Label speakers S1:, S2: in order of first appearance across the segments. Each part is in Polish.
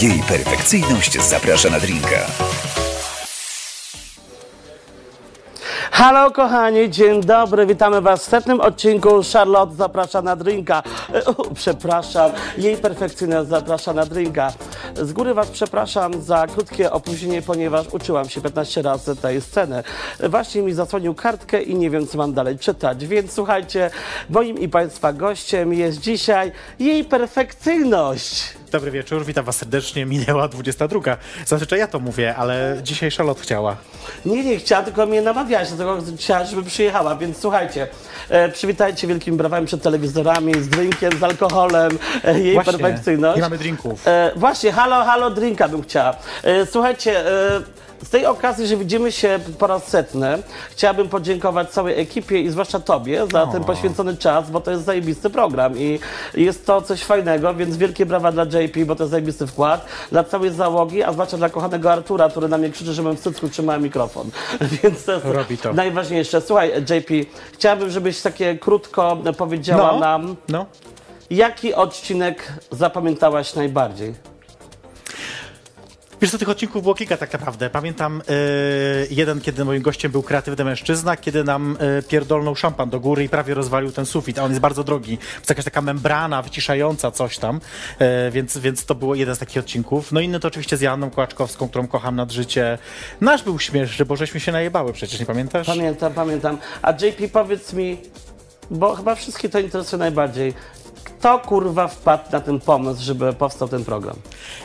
S1: Jej perfekcyjność zaprasza na drinka.
S2: Halo kochani, dzień dobry, witamy Was w setnym odcinku Charlotte zaprasza na drinka. E, U, przepraszam, jej perfekcyjna zaprasza na drinka. Z góry Was przepraszam za krótkie opóźnienie, ponieważ uczyłam się 15 razy tej sceny. Właśnie mi zasłonił kartkę i nie wiem, co mam dalej czytać, więc słuchajcie, moim i Państwa gościem jest dzisiaj jej perfekcyjność.
S3: Dobry wieczór, witam was serdecznie. Minęła 22. Zazwyczaj ja to mówię, ale dzisiaj Charlotte chciała.
S2: Nie, nie chciała, tylko mnie namawiałaś, dlatego chciała, żeby przyjechała, więc słuchajcie, e, przywitajcie wielkim brawami przed telewizorami, z drinkiem, z alkoholem, e, jej
S3: Właśnie,
S2: perfekcyjność.
S3: nie mamy drinków.
S2: E, właśnie, halo, halo, drinka bym chciała. E, słuchajcie, e, z tej okazji, że widzimy się po raz setny, chciałabym podziękować całej ekipie i zwłaszcza Tobie za ten poświęcony czas, bo to jest zajebisty program i jest to coś fajnego, więc wielkie brawa dla JP, bo to jest zajebisty wkład, dla całej załogi, a zwłaszcza dla kochanego Artura, który na mnie krzyczy, żebym w cycku trzymała mikrofon. Więc to jest
S3: Robi to.
S2: najważniejsze. Słuchaj, JP, chciałabym, żebyś takie krótko powiedziała nam,
S3: no.
S2: jaki odcinek zapamiętałaś najbardziej?
S3: Wiesz, co tych odcinków było kilka tak naprawdę. Pamiętam yy, jeden, kiedy moim gościem był kreatywny mężczyzna, kiedy nam yy, pierdolnął szampan do góry i prawie rozwalił ten sufit, a on jest bardzo drogi. Jest jakaś taka membrana wyciszająca coś tam, yy, więc, więc to było jeden z takich odcinków. No inny to oczywiście z Janną Kołaczkowską, którą kocham nad życie. Nasz był śmieszny, bo żeśmy się najebały przecież, nie pamiętasz?
S2: Pamiętam, pamiętam. A JP, powiedz mi, bo chyba wszystkie to interesuje najbardziej. Kto kurwa wpadł na ten pomysł, żeby powstał ten program?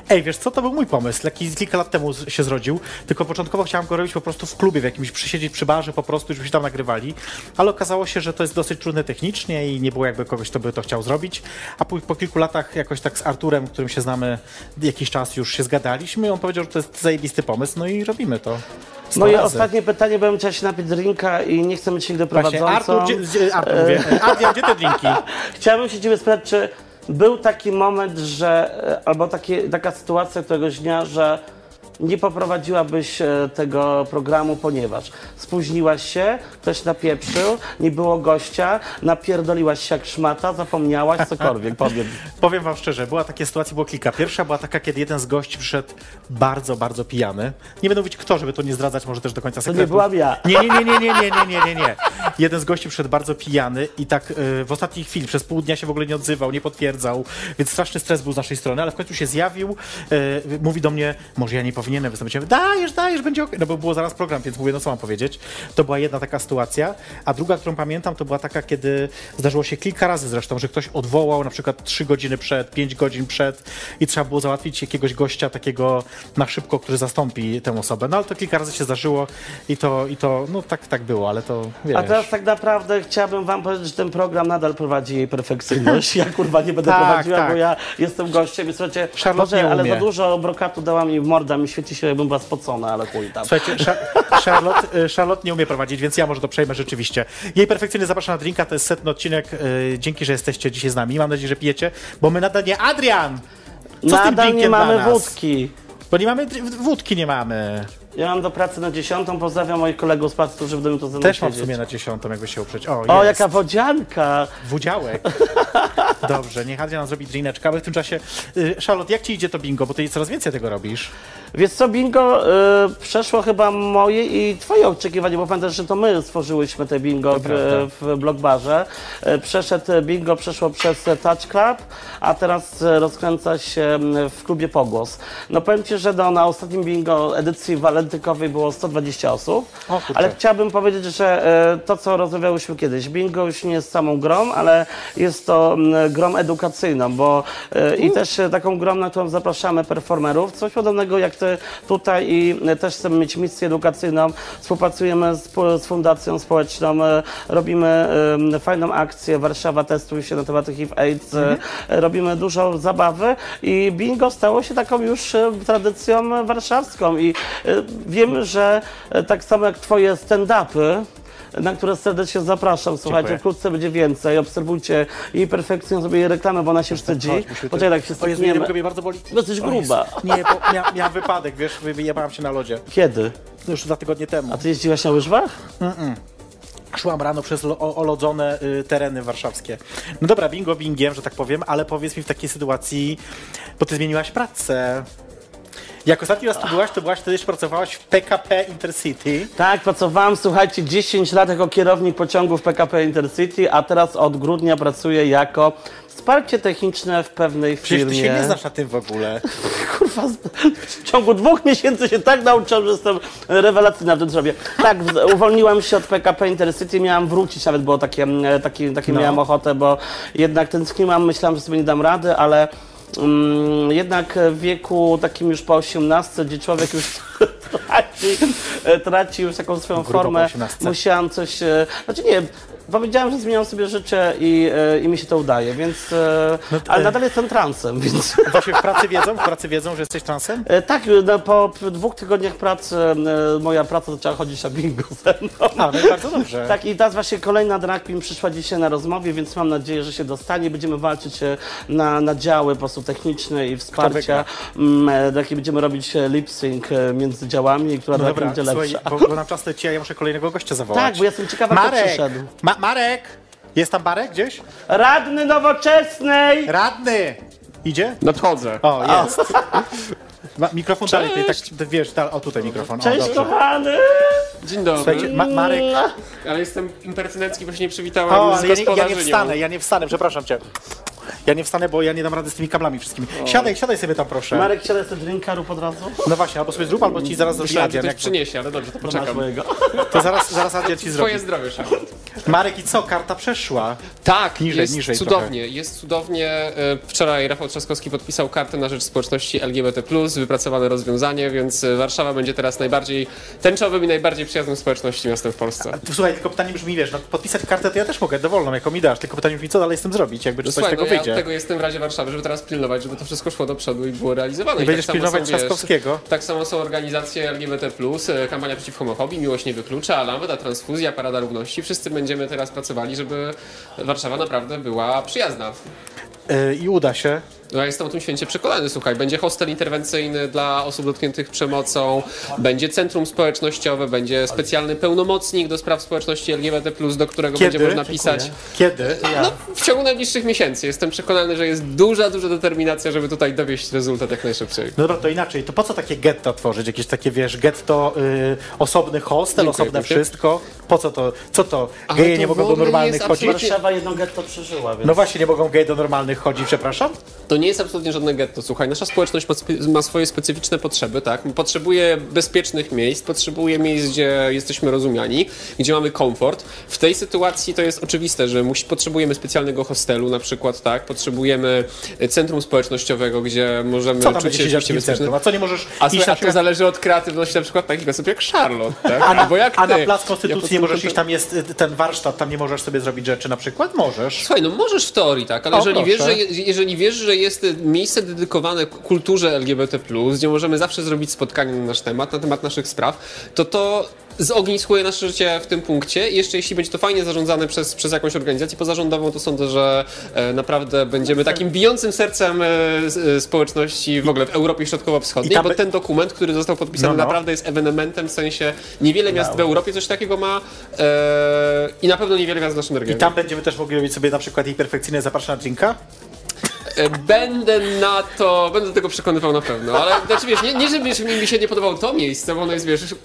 S3: Ej, wiesz co, to był mój pomysł, taki z kilka lat temu z- się zrodził, tylko początkowo chciałem go robić po prostu w klubie, w jakimś przysiedzieć przy barze po prostu, żebyśmy tam nagrywali, ale okazało się, że to jest dosyć trudne technicznie i nie było jakby kogoś, kto by to chciał zrobić, a po, po kilku latach jakoś tak z Arturem, którym się znamy jakiś czas już się zgadaliśmy, on powiedział, że to jest zajebisty pomysł, no i robimy to. Sto
S2: Moje
S3: razy.
S2: ostatnie pytanie, bo ja bym chciała się napić drinka i nie chcę mieć nigdy
S3: Właśnie,
S2: prowadzącą.
S3: Artur, gdzie, gdzie, Artur mówię. Adrian, gdzie te drinki?
S2: Chciałbym się ciebie spytać, czy był taki moment, że e, albo takie, taka sytuacja któregoś dnia, że nie poprowadziłabyś e, tego programu, ponieważ spóźniłaś się, ktoś napieprzył, nie było gościa, napierdoliłaś się jak szmata, zapomniałaś, cokolwiek, powiem.
S3: Powiem wam szczerze, była takie sytuacja, było kilka. Pierwsza była taka, kiedy jeden z gości przyszedł bardzo, bardzo pijany. Nie będę mówić kto, żeby to nie zdradzać może też do końca sekretu.
S2: nie byłam ja.
S3: Nie, nie, nie, nie, nie, nie, nie, nie, nie, nie. Jeden z gości przyszedł bardzo pijany i tak y, w ostatniej chwili, przez pół dnia się w ogóle nie odzywał, nie potwierdzał, więc straszny stres był z naszej strony, ale w końcu się zjawił, y, mówi do mnie, może ja nie powinienem wystąpić. Ja mówię, dajesz, dajesz, będzie ok. No bo było zaraz program, więc mówię, no co mam powiedzieć. To była jedna taka sytuacja, a druga, którą pamiętam, to była taka, kiedy zdarzyło się kilka razy zresztą, że ktoś odwołał na przykład trzy godziny przed, pięć godzin przed i trzeba było załatwić jakiegoś gościa takiego na szybko, który zastąpi tę osobę. No ale to kilka razy się zdarzyło i to, i to no tak, tak było, ale to wiesz.
S2: A teraz tak naprawdę chciałabym wam powiedzieć, że ten program nadal prowadzi jej perfekcyjność. Ja kurwa nie będę
S3: Tak,
S2: prowadziła,
S3: tak.
S2: bo ja jestem gościem i słuchajcie,
S3: Charlotte
S2: Boże,
S3: nie
S2: ale
S3: umie.
S2: za dużo brokatu dała mi w morda, mi świeci się, jakbym była spocona, ale chuj tam.
S3: Słuchajcie, Sza- Charlotte, y, Charlotte nie umie prowadzić, więc ja może to przejmę rzeczywiście. Jej perfekcyjnie zaprasza na drinka, to jest setny odcinek. y, Dzięki, że jesteście dzisiaj z nami. Mam nadzieję, że pijecie, bo my nadal nie... Adrian! Co z tym
S2: Nadal
S3: drinkiem
S2: nie mamy
S3: dla nas?
S2: wódki.
S3: Bo nie mamy... dr- Wódki nie mamy.
S2: Ja mam do pracy na dziesiątą, pozdrawiam moich kolegów z pracy, którzy będą to ze mną
S3: Też mam w
S2: siedzieć.
S3: sumie na dziesiątą, jakby się uprzeć. O,
S2: O,
S3: jest.
S2: jaka wodzianka!
S3: W udziałek. Dobrze, niech Adrian zrobi drineczka, ale w tym czasie... y, Charlotte, jak ci idzie to bingo? Bo ty coraz więcej tego robisz.
S2: Wiesz co, bingo y, przeszło chyba moje i twoje oczekiwanie, bo pamiętasz, że to my stworzyłyśmy te bingo w,
S3: prawda.
S2: w Blockbarze. Y, Przeszedł bingo, przeszło przez e, Touch Club, a teraz e, rozkręca się m, w klubie Pogłos. No powiem ci, że no, na ostatnim bingo edycji walentykowej było 120 osób,
S3: O, kurczę.
S2: ale chciałabym powiedzieć, że e, to, co rozmawiałyśmy kiedyś, bingo już nie jest samą grą, ale jest to mm, grą edukacyjną, bo e,
S3: Mm.
S2: i też e, taką grą, na którą zapraszamy performerów, coś podobnego jak ty tutaj i e, też chcemy mieć misję edukacyjną, współpracujemy z, pu- z Fundacją Społeczną, e, robimy e, fajną akcję Warszawa Testuj się na temat HIV AIDS,
S3: Mhm.
S2: e, robimy dużo zabawy i bingo stało się taką już e, tradycją warszawską i e, wiem, że e, tak samo jak twoje stand-upy, na które serdecznie zapraszam. Słuchajcie,
S3: Dziękuję.
S2: wkrótce będzie więcej. Obserwujcie jej perfekcję, sobie jej reklamę, bo ona się wstydzi.
S3: Chodź, musimy
S2: Poczekaj, tak się
S3: O Jezu, nie,
S2: stykniemy.
S3: mnie bardzo boli.
S2: No, jesteś
S3: O
S2: gruba.
S3: Jezu. Nie, bo mia, miałem wypadek, wiesz, wyjebałem się na lodzie.
S2: Kiedy?
S3: Już dwa tygodnie temu.
S2: A ty jeździłaś na łyżwach?
S3: Szłam rano przez lo- o- olodzone y, tereny warszawskie. No dobra, bingo bingiem, że tak powiem, ale powiedz mi w takiej sytuacji, bo ty zmieniłaś pracę. Jak ostatni raz tu byłaś, to byłaś wtedy, że pracowałaś w PKP Intercity.
S2: Tak, pracowałam, słuchajcie, 10 lat jako kierownik pociągów PKP Intercity, a teraz od grudnia pracuję jako wsparcie techniczne w pewnej
S3: Przecież
S2: firmie.
S3: ty się nie znasz na tym w ogóle.
S2: Kurwa, z- w ciągu dwóch miesięcy się tak nauczyłam, że jestem rewelacyjna w tym zrobię. Tak, w- uwolniłam się od PKP Intercity, miałam wrócić, nawet było takie, e, takie, takie
S3: No.
S2: miałam ochotę, bo jednak tęskniłam, myślałam, że sobie nie dam rady, ale mm, jednak w wieku takim już po 18, gdzie człowiek już traci, e, traci już taką swoją
S3: Grubo po
S2: formę,
S3: 18.
S2: musiałam coś, e, znaczy nie, powiedziałam, że zmieniam sobie życie i, e, i mi się to udaje, więc, e,
S3: No to-
S2: ale nadal jestem transem, więc...
S3: Właśnie w pracy wiedzą, w pracy wiedzą, że jesteś transem?
S2: E, Tak, no, po p- dwóch tygodniach pracy e, moja praca zaczęła chodzić na bingo ze mną.
S3: A, no i bardzo dobrze.
S2: Tak, i teraz właśnie kolejna drag queen przyszła dzisiaj na rozmowie, więc mam nadzieję, że się dostanie. Będziemy walczyć e, na, na działy po prostu techniczne i
S3: wygra?
S2: wsparcia. Mm, e, Takie będziemy robić e, lip sync e, między działami, która
S3: No
S2: drag queen
S3: dobra,
S2: będzie
S3: słuchaj,
S2: lepsza.
S3: bo, bo nam czas leci, a ja muszę kolejnego gościa zawołać.
S2: Tak, bo ja jestem ciekawa, kto
S3: Marek!
S2: przyszedł.
S3: Ma Marek! Jest tam Marek gdzieś?
S2: Radny Nowoczesnej!
S3: Radny! Idzie?
S4: Nadchodzę.
S3: O, jest. Ma, mikrofon dalej, tutaj, tak, tak, wiesz, dal, o tutaj mikrofon. o,
S2: Cześć Mm.
S3: dobrze.
S2: kochany!
S4: Dzień dobry.
S3: Słuchajcie, ma, Marek,
S4: Ale jestem impertynencki, bo się nie przywitałem
S3: o,
S4: z
S3: ale ja nie, ja nie
S4: gospodarzynią.
S3: wstanę, ja nie wstanę, przepraszam cię. Ja nie wstanę, bo ja nie dam rady z tymi kablami wszystkimi. Siadaj, siadaj sobie tam proszę.
S2: Marek, siadaj sobie drinka rób od razu.
S3: No właśnie, albo sobie zrób, albo ci zaraz zrobię
S4: Myślałem, że
S3: Adrian.
S4: ktoś
S3: Jak to,
S4: przyniesie, ale dobrze, to
S2: Masz
S4: poczekam.
S2: mojego.
S3: to zaraz, zaraz Adrian ci zrobi.
S4: Twoje zdrowie, Szymon.
S3: Marek i co, karta przeszła?
S4: Tak,
S3: Niżej,
S4: jest
S3: niżej
S4: cudownie. Jest cudownie. E, Wczoraj Rafał Trzaskowski podpisał kartę na rzecz społeczności LGBT+, wypracowane rozwiązanie, więc e, Warszawa będzie teraz najbardziej tęczowym i najbardziej przyjaznym społeczności miastem w Polsce.
S3: To Słuchaj, tylko pytanie brzmi, wiesz, no, podpisać kartę to ja też mogę, dowolną, jaką mi dasz, tylko pytanie brzmi, co dalej z tym zrobić, jakby czy coś z
S4: Słuchaj,
S3: tego
S4: no ja
S3: wyjdzie.
S4: tego jestem w Radzie Warszawy, żeby teraz pilnować, żeby to wszystko szło do przodu i było realizowane. I tak
S3: będziesz
S4: samo
S3: pilnować
S4: są, wiesz,
S3: Trzaskowskiego?
S4: Tak samo są organizacje LGBT+, e, kampania przeciw homofobii, Miłość nie wyklucza, Lambda, Transfuzja, Parada Równości. Wszyscy będziemy teraz pracowali, żeby Warszawa naprawdę była przyjazna.
S3: Y, I uda się.
S4: No, Ja jestem o tym święcie przekonany, słuchaj. Będzie hostel interwencyjny dla osób dotkniętych przemocą, będzie centrum społecznościowe, będzie specjalny pełnomocnik do spraw społeczności LGBT+, do którego
S3: Kiedy?
S4: będzie można pisać.
S3: Kiedy?
S4: No, w ciągu najbliższych miesięcy. Jestem przekonany, że jest duża, duża determinacja, żeby tutaj dowieść rezultat jak najszybciej.
S3: No dobra, to inaczej, to po co takie getto tworzyć? Jakieś takie, wiesz, getto, y, osobny hostel,
S4: Dziękuję,
S3: osobne
S4: Wojtek.
S3: wszystko? Po co to? Co to?
S4: Ale
S3: Geje
S4: to
S3: nie
S4: w
S3: mogą do
S4: ogóle
S3: normalnych
S4: jest
S3: chodzić?
S4: absolutnie-
S2: Warszawa jedno getto przeżyła, więc...
S3: No właśnie, nie mogą geje do normalnych chodzić, przepraszam?
S4: To nie jest absolutnie żadne getto. Słuchaj, nasza społeczność ma, spe- ma swoje specyficzne potrzeby, tak? Potrzebuje bezpiecznych miejsc, potrzebuje miejsc, gdzie jesteśmy rozumiani, gdzie mamy komfort. W tej sytuacji to jest oczywiste, że musi, potrzebujemy specjalnego hostelu na przykład, tak? Potrzebujemy e, centrum społecznościowego, gdzie możemy
S3: Co tam
S4: czuć
S3: będzie
S4: się
S3: siedział w
S4: rzeczywiście
S3: tym centrum? A
S4: bezpieczne.
S3: co nie możesz
S4: A,
S3: iść
S4: słuchaj,
S3: na
S4: a to
S3: przykład...
S4: zależy od kreatywności na przykład takich osób jak Charlotte, tak? Albo jak
S3: A na
S4: ty.
S3: plac
S4: Ja pod
S3: Konstytucji
S4: tym
S3: nie możesz
S4: kątem-
S3: iść, tam jest y, ten warsztat, tam nie możesz sobie zrobić rzeczy na przykład? Możesz.
S4: Słuchaj, no możesz w teorii, tak, ale
S3: O,
S4: jeżeli, wiesz, że,
S3: proszę.
S4: je- jeżeli wiesz, że jest y, miejsce dedykowane k- kulturze LGBT, gdzie możemy zawsze zrobić spotkanie na nasz temat, na temat naszych spraw, to to zogniskuje nasze życie w tym punkcie. I jeszcze jeśli będzie to fajnie zarządzane przez, przez jakąś organizację pozarządową, to sądzę, że e, naprawdę będziemy takim bijącym sercem e, s- e, społeczności w ogóle w Europie
S3: I
S4: Środkowo-Wschodniej,
S3: tam
S4: bo
S3: by-
S4: ten dokument, który został podpisany,
S3: No, no.
S4: naprawdę jest ewenementem, w sensie niewiele miast w Europie coś takiego ma e, i na pewno niewiele miast w naszym regionie.
S3: I tam będziemy też mogli robić sobie na przykład jej perfekcyjne zapraszana drinka?
S4: E, Będę na to, będę do tego przekonywał na pewno, ale znaczy wiesz, nie, nie żebyś mi mi się nie podobało to miejsce, bo ono jest, wiesz, już, e,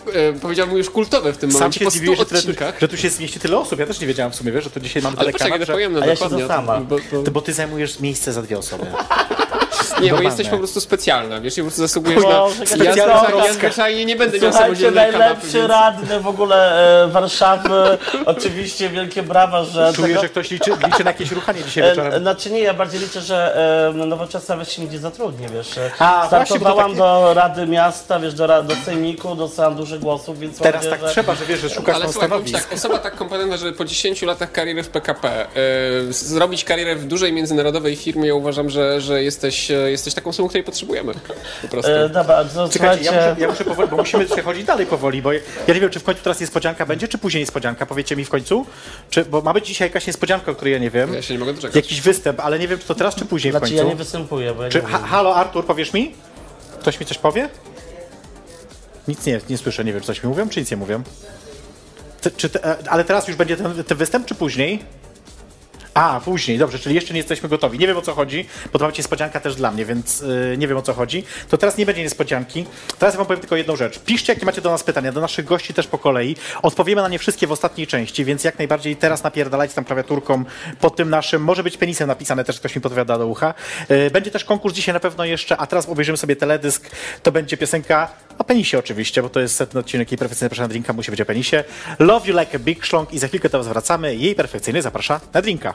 S4: powiedziałbym już kultowe w tym
S3: Sam
S4: momencie,
S3: się
S4: No po
S3: dziwiłem,
S4: 100
S3: że, tyle tu,
S4: odcinkach.
S3: że tu się zmieści tyle osób. Ja też nie wiedziałem w sumie, wiesz, że tu dzisiaj mamy
S4: Ale
S3: tyle
S4: poczekaj,
S3: kanap,
S4: to
S3: że...
S4: powiem, no
S2: a ja się
S4: dokładnie.
S2: zasama.
S4: Bo, bo,
S3: To bo ty zajmujesz miejsce za dwie osoby.
S4: nie, bo
S3: Normalne.
S4: jesteś po prostu specjalna, wiesz, i po prostu zasługujesz na...
S2: Boże, jaka
S4: Ja,
S3: specjalna
S4: zwyczajnie- ja
S3: troska.
S4: zwyczajnie nie będę miał
S2: Słuchajcie,
S4: samodzielnej kanapy,
S2: najlepszy
S4: więc...
S2: radny w ogóle e, Warszawy. Oczywiście wielkie brawa, że
S3: Czuję,
S2: tego...
S3: że ktoś liczy, liczy na jakieś ruchanie dzisiaj
S2: E,
S3: wieczorem.
S2: znaczy nie, ja bardziej liczę, że e, nowoczesna weź się gdzie zatrudni, wiesz. E,
S3: A, właśnie, bo to
S2: Startowałam
S3: takie-
S2: do Rady Miasta, wiesz, do, ra- do Sejmiku, dostałam dużo głosów, więc mam
S3: Teraz tak
S2: nadzieję, że...
S3: trzeba, że wiesz, że szukasz
S4: Ale
S3: tam
S4: słuchaj, powiem ci
S3: stanowisk.
S4: tak, osoba tak kompetentna, żeby po 10 latach kariery w PKP e, z- zrobić karierę w dużej międzynarodowej firmie, ja uważam, że, że jesteś, e, jesteś taką osobą, której potrzebujemy. Po prostu.
S2: E, dobra, to,
S3: Czekajcie, ja
S2: słuchajcie,
S3: muszę, ja muszę powoli, bo musimy przechodzić dalej powoli, bo ja ja nie wiem, czy w końcu teraz niespodzianka będzie, czy później niespodzianka, powiecie mi w końcu, czy, bo ma być dzisiaj jakaś niespodzianka, o której ja nie wiem,
S4: Ja się nie mogę doczekać.
S3: jakiś występ, ale nie wiem, czy to teraz, czy później w
S2: Znaczy ja
S3: końcu.
S2: nie występuję, bo ja
S3: Czy,
S2: nie
S3: ha,
S2: wiem.
S3: halo, Artur, powiesz mi? Ktoś mi coś powie? Nic nie, nie słyszę, nie wiem, czy coś mi mówią, czy nic nie mówią. Te- czy te, e, ale teraz już będzie ten, ten występ, czy później? A, później, dobrze, czyli jeszcze nie jesteśmy gotowi. Nie wiem o co chodzi, bo to ma być niespodzianka też dla mnie, więc y, nie wiem o co chodzi. To teraz nie będzie niespodzianki. Teraz ja wam powiem tylko jedną rzecz. Piszcie, jakie macie do nas pytania, do naszych gości też po kolei. Odpowiemy na nie wszystkie w ostatniej części, więc jak najbardziej teraz napierdalajcie tam klawiaturką pod tym naszym, może być penisem napisane też, ktoś mi podpowiada do ucha. Y, będzie też konkurs dzisiaj na pewno jeszcze, a teraz obejrzymy sobie teledysk. To będzie piosenka o penisie oczywiście, bo to jest setny odcinek Jej Perfekcyjny Zaprasza na Drinka, musi być o penisie. Love You Like a Big Schlong i za chwilkę to zwracamy. Jej Perfekcyjny Zaprasza na Drinka.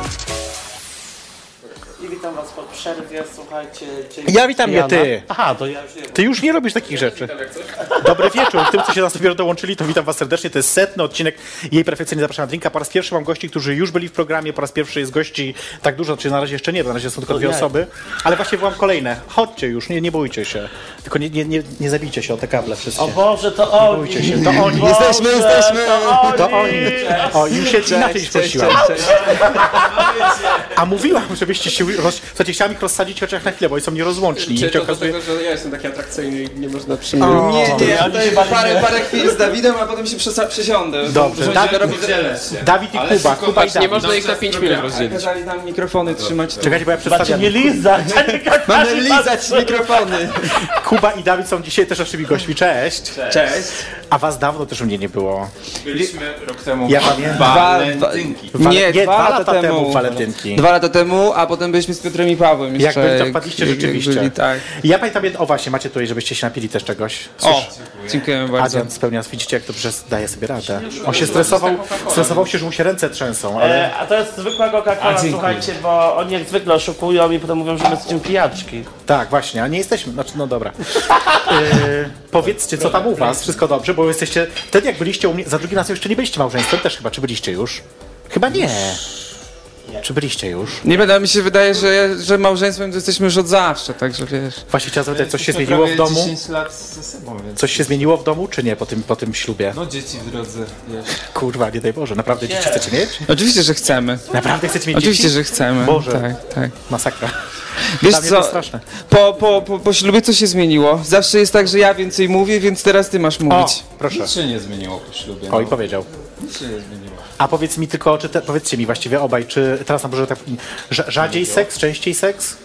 S2: I witam was po przerwie, słuchajcie. dzień
S3: Ja witam, nie
S2: Jana.
S3: ty.
S2: Aha, to ja już nie
S3: Ty już nie robisz takich rzeczy. Dobry wieczór. Tym, co się do nas dopiero dołączyli, to witam was serdecznie. To jest setny odcinek Jej Perfekcyjnie Zapraszam na Drinka. Po raz pierwszy mam gości, którzy już byli w programie, po raz pierwszy jest gości tak dużo, czy na razie jeszcze nie, bo na razie są tylko dwie
S2: ja.
S3: osoby. Ale właśnie wołam kolejne. Chodźcie już, nie, nie bójcie się. Tylko nie, nie, nie, nie zabijcie się o te kable wszystkie.
S2: O Boże, to oni!
S3: bójcie się, to oni.
S2: Boże,
S3: Jesteśmy,
S2: jesteśmy! To oni!
S3: To oni. O, już się inaczej już prosiłem. A mówiłam, żebyście się... Roz... Słuchajcie, chciałam ich rozsadzić chociaż na chwilę, bo oni są nierozłączni.
S4: Czy
S3: I się
S4: to
S3: okazuje...
S4: dlatego, że ja jestem taki atrakcyjny i nie można przy mnie...
S5: Nie, nie, ja tutaj
S2: bardziej-
S5: parę, parę chwil z Dawidem, a potem się przesa- przesiądę.
S3: Dobrze, Tak,
S5: Bo
S3: Dawid-
S5: będziemy robić
S3: Dawid i Kuba, Kuba i
S4: Nie
S3: Dawid.
S4: można ich na 5 minut rozdzielić.
S5: Kazali nam mikrofony trzymać.
S3: Czekajcie, bo ja
S2: Macie
S3: przedstawiam.
S2: Znaczy, nie lizać,
S5: Mamy lizać mikrofony.
S3: Kuba i Dawid są dzisiaj też naszymi gośćmi. Cześć.
S5: Cześć.
S3: A was dawno też u mnie nie było.
S6: Byliśmy rok temu
S3: Ja pamiętam.
S6: walentynki.
S3: Wale-
S5: Nie, dwa, lata temu.
S3: walentynki.
S5: Dwa lata temu, a potem byliśmy z Piotrem i Pawłem
S3: Jak
S5: jeszcze.
S3: wy tam wpadliście
S5: jak
S3: rzeczywiście.
S5: byli, tak.
S3: Ja pamiętam, jed- o właśnie, macie tutaj, żebyście się napili też czegoś.
S5: O, dziękujemy bardzo.
S3: Adrian spełnia, widzicie jak dobrze daje sobie radę. On się stresował, stresował się, że mu się ręce trzęsą, ale...
S2: E, A to jest zwykła Coca-Cola, słuchajcie, bo oni jak zwykle oszukują i potem mówią, że my jesteśmy pijaczki.
S3: Tak, właśnie, a nie jesteśmy, znaczy, no dobra. E, powiedzcie, co tam u was, wszystko dobrze, bo jesteście... Wtedy jak byliście u mnie, za drugim razem jeszcze nie byliście małżeństwem też chyba, czy byliście już? Chyba nie. Czy byliście już?
S5: Nie będę, mi się wydaje, że, że małżeństwem to jesteśmy już od zawsze, także wiesz.
S3: Właśnie chciałem zapytać, coś się zmieniło w domu?
S6: 10 lat ze sobą, więc.
S3: Coś się zmieniło w domu, czy nie po tym, po tym ślubie?
S6: No dzieci w drodze, wiesz.
S3: Kurwa, nie daj Boże, naprawdę dzieci chcecie mieć?
S5: Oczywiście, że chcemy.
S3: Naprawdę chcecie mieć
S5: Oczywiście,
S3: dzieci?
S5: że chcemy.
S3: Boże.
S5: Tak, tak.
S3: Masakra.
S5: Wiesz
S3: Dla mnie to
S5: co,
S3: straszne.
S5: po, po, po, po ślubie co się zmieniło? Zawsze jest tak, że ja więcej mówię, więc teraz ty masz
S3: O,
S5: mówić.
S3: proszę.
S6: Nic się nie zmieniło po ślubie.
S3: Oj, powiedział.
S6: Nic się nie zmieniło.
S3: A powiedz mi tylko, czy te, powiedzcie mi właściwie obaj, czy teraz na Boże tak rza- rzadziej seks, częściej seks?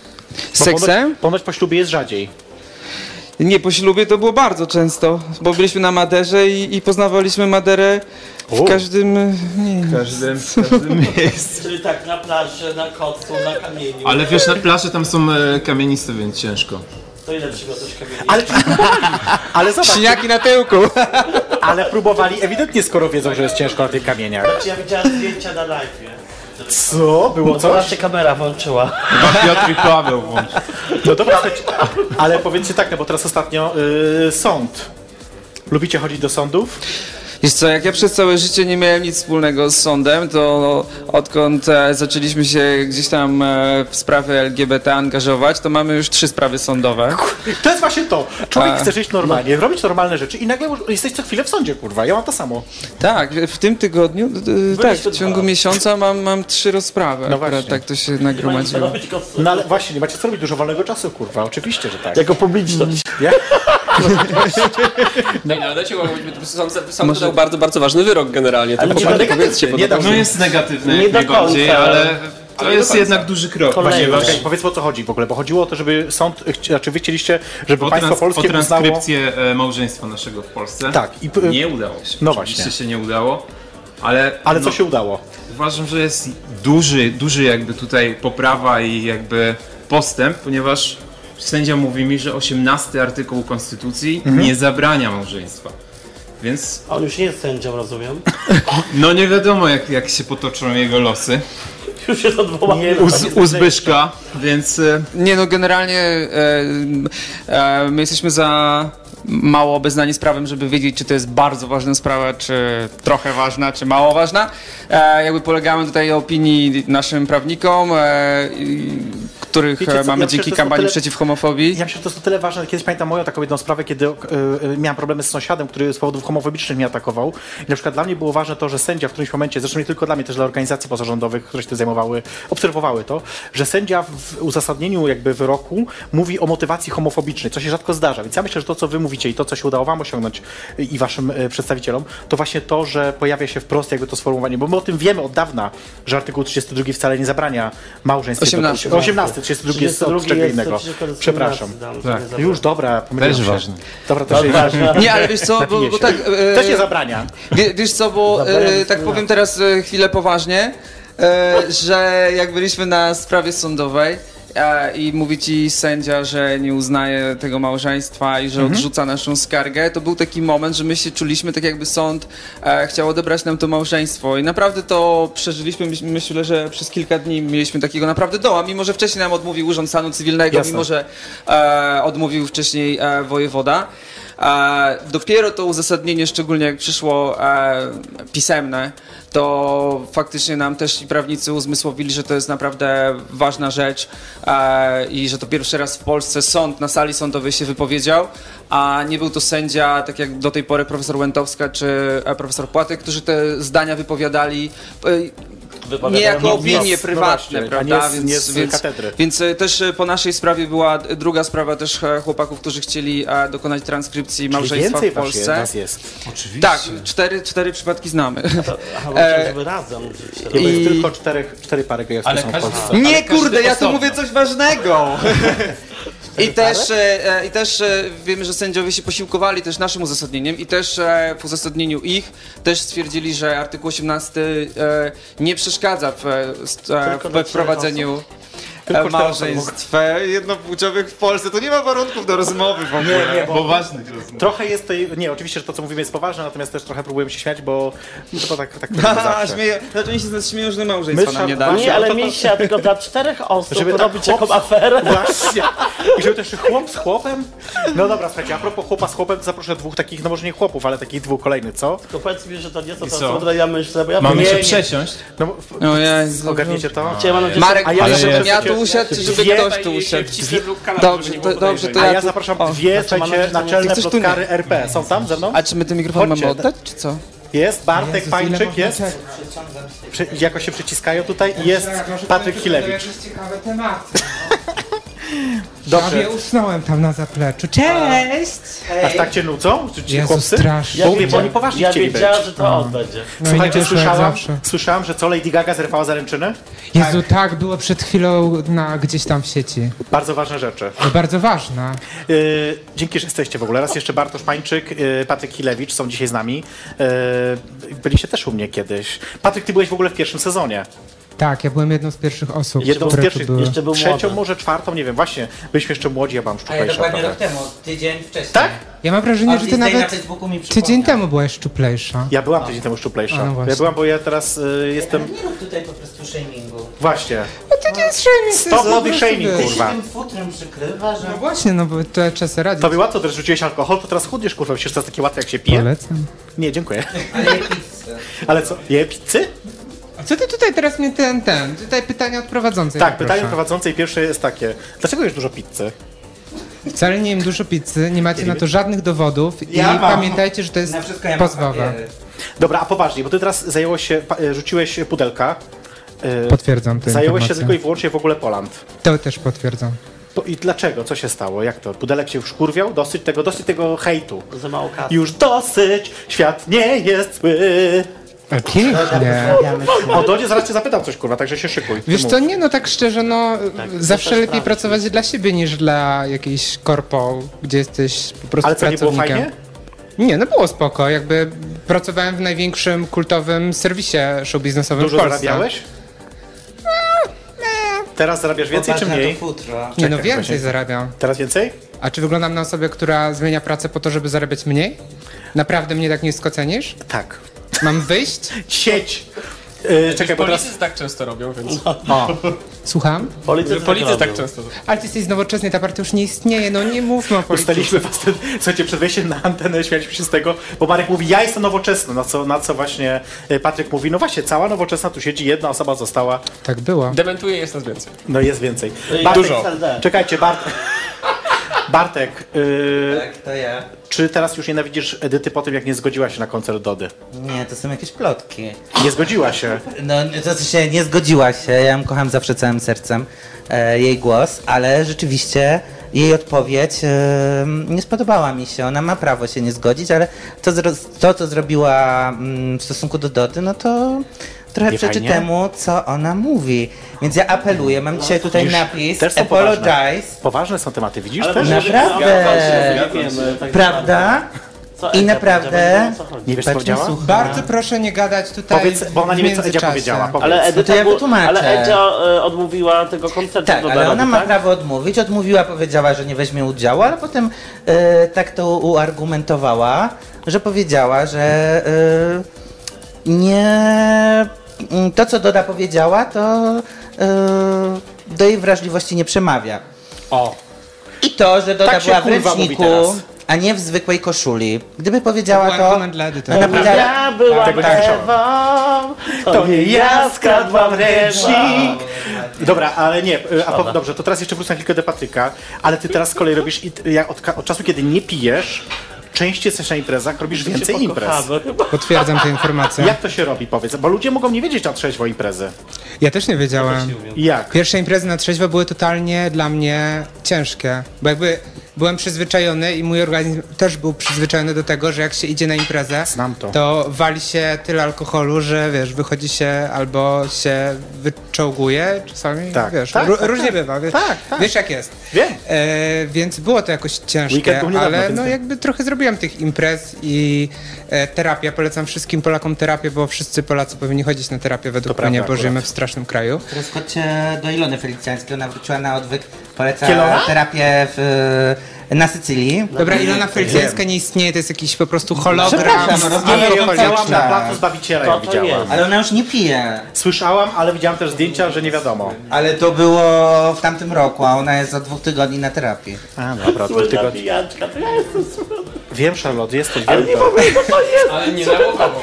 S5: Z
S3: Bo
S5: Seksem?
S3: Ponoć, ponoć po ślubie jest rzadziej.
S5: Nie, po ślubie to było bardzo często, bo byliśmy na Maderze i, i poznawaliśmy Maderę w
S3: U.
S5: każdym... Nie,
S6: W każdym, w każdym miejscu.
S2: Czyli tak na plaży, na kocu, na kamieniu.
S6: Ale wiesz, na plaży tam są e, kamieniste, więc ciężko.
S2: To ile przygotujesz kamieni?
S3: Ale czy nie próbowali? Ale zobacz,
S5: Siniaki na tyłku.
S3: ale próbowali ewidentnie, skoro wiedzą, że jest ciężko na tych kamieniach.
S2: Znaczy, Ja widziałem zdjęcia na live.
S3: Co? Było
S2: To
S3: coś?
S2: nasza kamera włączyła.
S6: Chyba Piotr i Paweł włączyli.
S3: No dobra, słuchajcie, ale powiedzcie tak, no bo teraz ostatnio yy, sąd. Lubicie chodzić do sądów?
S5: Wiesz co, jak ja przez całe życie nie miałem nic wspólnego z sądem, to odkąd e, zaczęliśmy się gdzieś tam e, w sprawy LGBT angażować, to mamy już trzy sprawy sądowe.
S3: To jest właśnie to. Człowiek
S5: A,
S3: chce żyć
S2: no.
S3: normalnie, robić normalne rzeczy i nagle już jesteś co chwilę w sądzie, kurwa. Ja mam to samo.
S5: Tak, w tym tygodniu, d- d- tak,
S2: tu
S5: w ciągu
S2: dwa.
S5: miesiąca mam, mam trzy rozprawy.
S3: No
S5: akurat
S3: właśnie.
S5: tak to się nagromadziło.
S2: Robić kocu.
S3: No ale właśnie, nie macie co robić, dużo wolnego czasu, kurwa. Oczywiście, że tak.
S2: Jako publiczność.
S4: Nie, ale dajcie łamać, bo to sam, sam wydał bardzo, bardzo ważny wyrok generalnie. To
S2: Ale nie
S4: popatrzcie,
S2: będę
S4: powiedzcie, bo
S3: nie
S4: to-
S3: dam
S6: No jest negatywne
S2: Nie
S6: jak
S2: do
S6: najbardziej,
S2: końca.
S6: ale to
S2: Ale do
S6: jest
S2: końca.
S6: jednak duży krok.
S2: Kolejny.
S6: ponieważ
S3: Czekaj, powiedz o co chodzi w ogóle, bo chodziło o to, żeby sąd, chci- znaczy wy chcieliście, żeby
S6: O,
S3: państwo
S6: trans, o
S3: polskie uznało...
S6: transkrypcję e, małżeństwa naszego w Polsce.
S3: Tak, i p-
S6: Nie udało się.
S3: No
S6: Oczywiście
S3: właśnie.
S6: się nie udało, ale...
S3: Ale co
S6: no,
S3: się udało?
S6: Uważam, że jest duży, duży jakby tutaj poprawa i jakby postęp, ponieważ sędzia mówi mi, że 18 artykuł Konstytucji nie zabrania małżeństwa. Więc
S2: On już nie jest sędzią, rozumiem.
S6: no nie wiadomo jak, jak się potoczą jego losy
S2: Już jest odwołany.
S6: u, Z- u Zbyszka, więc e,
S5: Nie no, generalnie e, e, my jesteśmy za mało obeznani z prawem, żeby wiedzieć, czy to jest bardzo ważna sprawa, czy trochę ważna, czy mało ważna. E, jakby polegamy tutaj na opinii naszym prawnikom, e, i- których
S3: Wiecie co,
S5: e, mamy
S3: ja przecież
S5: dzięki
S3: to są
S5: kampanii
S3: tyle-
S5: przeciw homofobii.
S3: Ja myślę, że to jest o tyle ważne. Kiedyś pamiętam moją taką jedną sprawę, kiedy ok- y, y, miałem problemy z sąsiadem, który z powodów homofobicznych mnie atakował. I na przykład dla mnie było ważne to, że sędzia w którymś momencie, zresztą nie tylko dla mnie, też dla organizacji pozarządowych, które się tym zajmowały, obserwowały to, że sędzia w uzasadnieniu jakby wyroku mówi o motywacji homofobicznej, co się rzadko zdarza. Więc ja myślę, że to, co wy mówicie i to, co się udało wam osiągnąć y, i waszym y, przedstawicielom, to właśnie to, że pojawia się wprost jakby to sformułowanie, bo my o tym wiemy od dawna, że artykuł 32 wcale nie zabrania małżeństw.
S5: 18.
S3: 18, 32 jest od czego innego. Przepraszam.
S2: Tak.
S3: Już, dobra, pomyliłem
S6: Też
S3: się.
S6: ważne.
S3: Dobra, też ważne.
S5: Nie, ale wiesz co, bo, bo tak... e,
S3: To się zabrania.
S5: Wie, wiesz co, bo
S2: Zabrałem
S5: e, tak
S2: syna.
S5: powiem teraz e, chwilę poważnie, e, że jak byliśmy na sprawie sądowej e, i mówi ci sędzia, że nie uznaje tego małżeństwa i że odrzuca naszą skargę, to był taki moment, że my się czuliśmy tak jakby sąd e, chciał odebrać nam to małżeństwo i naprawdę to przeżyliśmy, myś- myślę, że przez kilka dni mieliśmy takiego naprawdę doła, mimo że wcześniej nam odmówił Urząd Stanu Cywilnego,
S3: Jasne.
S5: mimo że e, odmówił wcześniej e, wojewoda. E, dopiero to uzasadnienie, szczególnie jak przyszło e, pisemne, to faktycznie nam też i prawnicy uzmysłowili, że to jest naprawdę ważna rzecz e, i że to pierwszy raz w Polsce sąd na sali sądowej się wypowiedział, a nie był to sędzia, tak jak do tej pory profesor Łętowska czy e, profesor Płatek, którzy te zdania wypowiadali. E, nie jako opinie
S3: no
S5: prywatne,
S3: właśnie, a
S5: prawda?
S3: nie z- nie z
S5: więc,
S3: katedry.
S5: więc e, też e, po naszej sprawie była e, druga sprawa też e, chłopaków, którzy chcieli e, dokonać transkrypcji małżeństwa
S3: Więcej
S5: w
S3: was jest,
S5: Polsce.
S3: nas jest.
S6: Oczywiście.
S5: Tak, cztery, cztery przypadki znamy.
S3: E,
S2: Aha, bo myślałem, żeby razem. gdzieś
S3: I...
S2: razem.
S5: I-
S3: Jest tylko czterech, cztery pary gejowskie
S6: Ale
S3: są w
S6: każdy-
S3: Polsce.
S6: Ale
S5: Nie,
S6: każdy
S5: kurde, ja tu
S6: osobno.
S5: mówię coś ważnego. I też, e, e, I też e, wiemy, że sędziowie się posiłkowali też naszym uzasadnieniem i też e, w uzasadnieniu ich też stwierdzili, że artykuł 18 e, nie przeszkadza w, e, st- e,
S2: Tylko dla
S5: we
S2: czterech
S5: prowadzeniu
S3: Tylko
S5: e,
S3: cztery
S5: małżeństw e, jednopłciowych w Polsce. To nie ma warunków do rozmowy w ogóle.
S6: Nie, bo ważnych rozmów.
S3: Trochę jest to, nie, oczywiście, że to co mówimy jest poważne, natomiast też trochę próbujemy się śmiać, bo to tak, tak,
S5: Ha,
S3: tak
S5: ha,
S3: zawsze.
S5: śmieję. Znaczy oni się z nas śmieją, że małżeństwa
S3: My
S5: nam nie
S3: szab-
S5: dali.
S2: No Nie, ale
S3: to- to-
S2: misia, tylko dla czterech osób
S3: Żeby tak
S2: robić
S3: chłop-
S2: taką aferę.
S3: Właśnie. I żeby też chłop z chłopem? No dobra, słuchajcie, a propos chłopa z chłopem, to zaproszę dwóch takich, no może nie chłopów, ale takich dwóch kolejnych, co?
S2: Tylko powiedz mi, że to nie są
S6: co?
S2: to, co ja myślę, bo ja
S6: Mamy
S2: wiem-
S6: się przesiąść.
S3: No, w-
S5: No ja,
S3: ogarniecie to?
S2: Ja mam nadzieję,
S5: Marek,
S3: A ja
S5: ale
S3: jeszcze-
S5: żebym ja tu usiadł, czy żeby
S3: Dwie-
S5: ktoś tu usiadł? Dobrze, to, dobrze, to
S3: A
S5: ja,
S3: ja
S5: tu...
S3: zapraszam
S5: O.
S3: dwie, słuchajcie,
S2: nadzieję, że
S3: naczelne
S5: Chcesz tu nie?
S3: plotkary RP. Są tam ze mną?
S5: A czy my ten mikrofon
S3: Chodźcie,
S5: mamy oddać, czy co?
S3: Jest Bartek Pańczyk, jest. Przy, jako się przyciskają tutaj i jest Patryk Chilewicz.
S7: ciekawe tematy.
S3: Dobrze.
S7: Prawie usnąłem tam na zapleczu. Cześć!
S3: Aż tak cię nudzą? Czy ci
S7: Jezu,
S3: chłopcy?
S7: strasznie.
S3: Bo mówię, bo
S2: wiedziałem-
S3: oni poważnie
S2: ja
S3: chcieli być.
S2: wiedziałem, że
S8: Mm.
S2: to on będzie.
S7: No
S3: Słuchajcie,
S7: wyszło jak
S3: słyszałam, słyszałam, że co Lady Gaga zerwała zaręczyny?
S7: Jezu, tak, było przed chwilą na, gdzieś tam w sieci.
S3: Bardzo ważne rzeczy.
S7: To bardzo ważne.
S3: Yy, dzięki, że jesteście w ogóle. Raz jeszcze Bartosz Pańczyk, yy, Patryk Chilewicz są dzisiaj z nami. Yy, byliście też u mnie kiedyś. Patryk, ty byłeś w ogóle w pierwszym sezonie.
S7: Tak, ja byłem jedną z pierwszych osób,
S3: Jedną z
S7: które
S3: pierwszych,
S7: tu były.
S2: Jeszcze był
S3: trzecią,
S2: młody.
S3: może czwartą, nie wiem, właśnie. Byliśmy jeszcze młodzi, ja byłam
S8: A ja
S3: szczuplejsza.
S8: dokładnie tak
S3: trochę.
S8: rok temu, tydzień wcześniej.
S3: Tak?
S7: Ja mam wrażenie,
S8: Pan
S7: że ty
S8: Disney na
S7: nawet
S8: Facebooku mi
S7: tydzień
S8: przypomniał.
S7: temu byłaś szczuplejsza.
S3: Ja byłam tydzień temu szczuplejsza.
S7: A, no właśnie.
S3: ja byłam, bo ja teraz y,
S8: Ale
S3: jestem...
S8: Nie rób tutaj po prostu shamingu.
S3: Właśnie.
S7: To nie jest shaming, to
S3: Stop
S7: jest
S3: body
S7: po prostu
S3: shaming,
S7: wy-
S8: Ty
S3: Kurwa.
S8: się tym futrem przykrywa, że...
S7: No właśnie, no bo to czasy radzi.
S3: Tobie łatwo też rzuciłeś alkohol, to teraz chudniesz, kurwa, przecież to jest takie łatwe jak się pije.
S7: Polecam.
S3: Nie, dziękuję.
S8: Ale jak pizzę.
S3: Ale co, je pizzy?
S7: A co ty tutaj teraz mnie ten, ten? Tutaj pytania od prowadzącej.
S3: Tak,
S7: poproszę.
S3: pytanie prowadzącej pierwsze jest takie. Dlaczego jesz dużo pizzy?
S7: Wcale nie jem dużo pizzy, nie macie na to żadnych dowodów i
S8: Ja mam.
S7: pamiętajcie, że to jest
S8: Na wszystko ja mam
S7: pozwowe.
S8: papiery.
S3: Dobra, a poważnie, bo ty teraz zajęło się, pa- y, rzuciłeś pudelka. y,
S7: Potwierdzam tę
S3: Zajęłeś się
S7: informację.
S3: tylko i wyłącznie w ogóle Poland.
S7: To też potwierdzam.
S3: Po, I dlaczego? Co się stało? Jak to? Pudelek się już kurwiał? Dosyć tego, dosyć tego hejtu.
S2: Za mało kasy.
S3: Już dosyć, świat nie jest zły.
S7: E, Pięknie.
S3: O Dodzie zaraz cię zapytam coś, kurwa, także się szykuj.
S7: Wiesz
S3: Mów.
S7: co, nie no tak szczerze, no zawsze
S2: to
S7: lepiej
S2: też
S3: tak.
S2: prawda.
S7: pracować dla siebie niż dla jakiejś korpo, gdzie jesteś po prostu
S3: Ale co, nie było
S7: pracownikiem.
S3: fajnie?
S7: Nie, no było spoko, jakby pracowałem w największym kultowym serwisie show biznesowym
S3: Dużo
S7: w Polsce.
S3: zarabiałeś?
S7: No,
S3: Teraz zarabiasz więcej
S8: Popatrz
S3: czy
S8: na to
S3: mniej?
S8: futro.
S7: Nie no
S3: Czekaj,
S7: więcej
S3: właśnie.
S7: zarabiam.
S3: Teraz więcej?
S7: A czy wyglądam na osobę, która zmienia pracę po to, żeby zarabiać mniej? Naprawdę mnie tak nisko cenisz?
S3: Tak.
S7: Mam wyjść?
S3: Sieć! E, czekaj, bo teraz...
S4: Politycy tak często robią, więc...
S3: No,
S7: Słucham?
S2: Politycy,
S4: Politycy
S2: tak
S4: tak
S2: robią.
S4: często robią.
S7: Ale ty jesteś nowoczesny, ta partia już nie istnieje, no nie mówmy o polityce.
S3: Ustaliśmy was, ten, słuchajcie, przed wejściem na antenę śmialiśmy się z tego, bo Marek mówi, ja jestem nowoczesny, na co, na co właśnie e, Patryk mówi, no właśnie, cała nowoczesna tu siedzi, jedna osoba została,
S7: Tak było.
S4: Dementuje jest nas więcej.
S3: no jest więcej.
S2: I
S4: dużo.
S2: SLD.
S3: Czekajcie, Bartek. Bartek, y,
S8: Tak, to ja.
S3: czy teraz już nienawidzisz Edyty po tym, jak nie zgodziła się na koncert Dody?
S8: Nie, to są jakieś plotki.
S3: Nie zgodziła się.
S8: No, to się nie zgodziła się, ja ją kocham zawsze całym sercem, e, jej głos, ale rzeczywiście jej odpowiedź e, nie spodobała mi się. Ona ma prawo się nie zgodzić, ale to, zro- to co zrobiła mm, w stosunku do Dody, no to trochę
S3: Nie
S8: przeczy
S3: fajnie?
S8: temu, co ona mówi. Więc ja apeluję, mam dzisiaj tutaj
S3: Widzisz,
S8: napis
S3: też są poważne.
S8: Apologize,
S3: Poważne są tematy, widzisz?
S2: Ale
S3: Też?
S2: może być
S8: Naprawdę?
S2: zgadzać się, nie wiemy, tak
S8: prawda?
S2: Co
S8: I
S2: Edzia
S8: naprawdę-
S2: powiedziała, o co chodzi?
S3: Nie wiesz, co
S8: Patrz,
S3: powiedziała?
S8: słuchaj.
S7: Bardzo proszę nie gadać tutaj
S3: Powiedz, bo ona nie
S7: w
S3: wie, co Edzia
S7: międzyczasie.
S3: powiedziała. Powiedz.
S2: Ale
S8: No to
S2: Edyta,
S8: ja
S2: bu-
S8: wytłumaczę.
S2: ale Edzia e, odmówiła tego koncertu
S8: Tak,
S2: do
S8: ale ona
S2: Darabu,
S8: ma
S2: tak?
S8: prawo odmówić. Odmówiła, powiedziała, że nie weźmie udziału, ale potem e, tak to uargumentowała, że powiedziała, że e, nie. m, To, co Doda powiedziała, to e, do jej wrażliwości nie przemawia.
S3: O,
S8: I to, że Doda
S3: Tak się
S8: była w
S3: kurwa mówi
S8: ręczniku,
S3: teraz.
S8: a nie w zwykłej koszuli. Gdyby powiedziała
S7: To
S8: to.
S7: był argument dla Edyty.
S8: ona by dała-
S2: Ja byłam
S3: Tego nie słyszałem.
S2: Ewą, to nie ja skradłam ręcznik.
S3: Dobra, ale nie, y, a po, dobrze, to teraz jeszcze wrócę na chwilkę do Patryka, ale ty teraz z kolei robisz, i- jak od, ka- od czasu, kiedy nie pijesz, częściej jesteś na imprezach, robisz więcej imprez.
S2: Kochamy, chyba.
S7: Potwierdzam tę informację.
S3: Jak to się robi, powiedz, bo ludzie mogą nie wiedzieć na trzeźwo imprezy.
S7: Ja też nie wiedziałem.
S3: Jak?
S7: Tak. Pierwsze imprezy na trzeźwo były totalnie dla mnie ciężkie, bo jakby byłem przyzwyczajony i mój organizm też był przyzwyczajony do tego, że jak się idzie na imprezę,
S3: Znam to.
S7: wali się tyle alkoholu, że wiesz, wychodzi się albo się wyczołguje czasami,
S3: Tak,
S7: wiesz,
S3: tak,
S7: ró-
S3: tak,
S7: różnie
S3: tak.
S7: bywa, wiesz,
S3: Tak, tak.
S7: wiesz jak jest.
S3: Wiem.
S7: E, więc było to jakoś ciężkie,
S3: Weekend był niedawno,
S7: ale
S3: więc
S7: no
S3: tak.
S7: jakby trochę zrobiłem tych imprez i e, terapia, polecam wszystkim Polakom terapię, bo wszyscy Polacy powinni chodzić na terapię według
S3: prawda
S7: mnie, bo
S3: akurat.
S7: żyjemy w strasznym kraju.
S8: Teraz chodźcie do Ilony Felicjańskiej, ona wróciła na odwyk, poleca
S3: Kielona?
S8: terapię w, y, na Sycylii.
S7: Dobra, Ilona Felicjańska nie istnieje, to jest jakiś po prostu hologram.
S8: Przepraszam,
S3: Nie, ja ją
S8: rozmawiam
S3: widziałam na placu Zbawiciela,
S2: To
S3: ja
S2: to
S3: widziałam.
S2: jest.
S8: Ale ona już nie pije.
S3: Słyszałam, ale widziałam też zdjęcia, że nie wiadomo.
S8: Ale to było w tamtym roku, a ona jest od dwóch tygodni na terapii.
S3: A, dobra, to
S2: Słynna
S3: tygodni.
S2: pijaczka, to ja jestem słynna.
S3: Wiem, Charlotte, jesteś
S2: Ale nie
S3: wielka.
S2: powiem, co to jest.
S4: Ale nie nałogowo.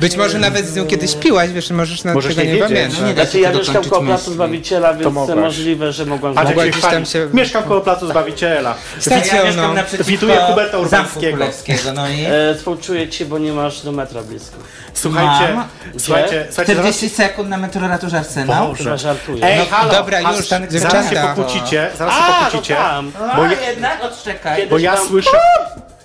S7: Być może nawet z nią kiedyś piłaś, wiesz, możesz na
S3: Możesz
S7: tego
S3: nie
S7: nie
S3: wiedzieć.
S7: pamiętać.
S8: Nie da
S2: Znaczy
S8: się
S2: ja
S8: tu
S2: mieszkam
S8: dokończyć
S2: koło placu
S8: myśli.
S2: Zbawiciela, więc
S3: mogłaś.
S2: możliwe, że mogłam...
S3: A
S7: Mogłaś
S3: jak się
S7: gdzieś tam
S3: chwali.
S7: się-
S3: Mieszkam koło placu Zbawiciela.
S7: Stać
S8: Ja
S7: ją,
S8: mieszkam
S7: no.
S8: naprzeciwko
S3: Wituję Huberta
S8: Zamku
S3: Urbańskiego.
S8: Królewskiego, No i
S2: E, Współczuję ci, bo nie masz do metra blisko.
S3: Słuchajcie,
S8: Mam.
S3: słuchajcie, słuchajcie, zaraz
S8: 40 sekund na metroraturz Arsenał.
S2: Chyba żartuję.
S3: Ej,
S7: No,
S3: halo,
S7: dobra,
S3: halo,
S7: już,
S3: zaraz się
S7: dziewczęta.
S3: pokłócicie, zaraz
S2: A,
S3: się
S2: to
S3: pokłócicie,
S2: tam.
S3: bo
S8: Bo
S3: ja,
S8: No, jednak odczekaj.
S3: bo ja
S2: tam-
S3: słyszę,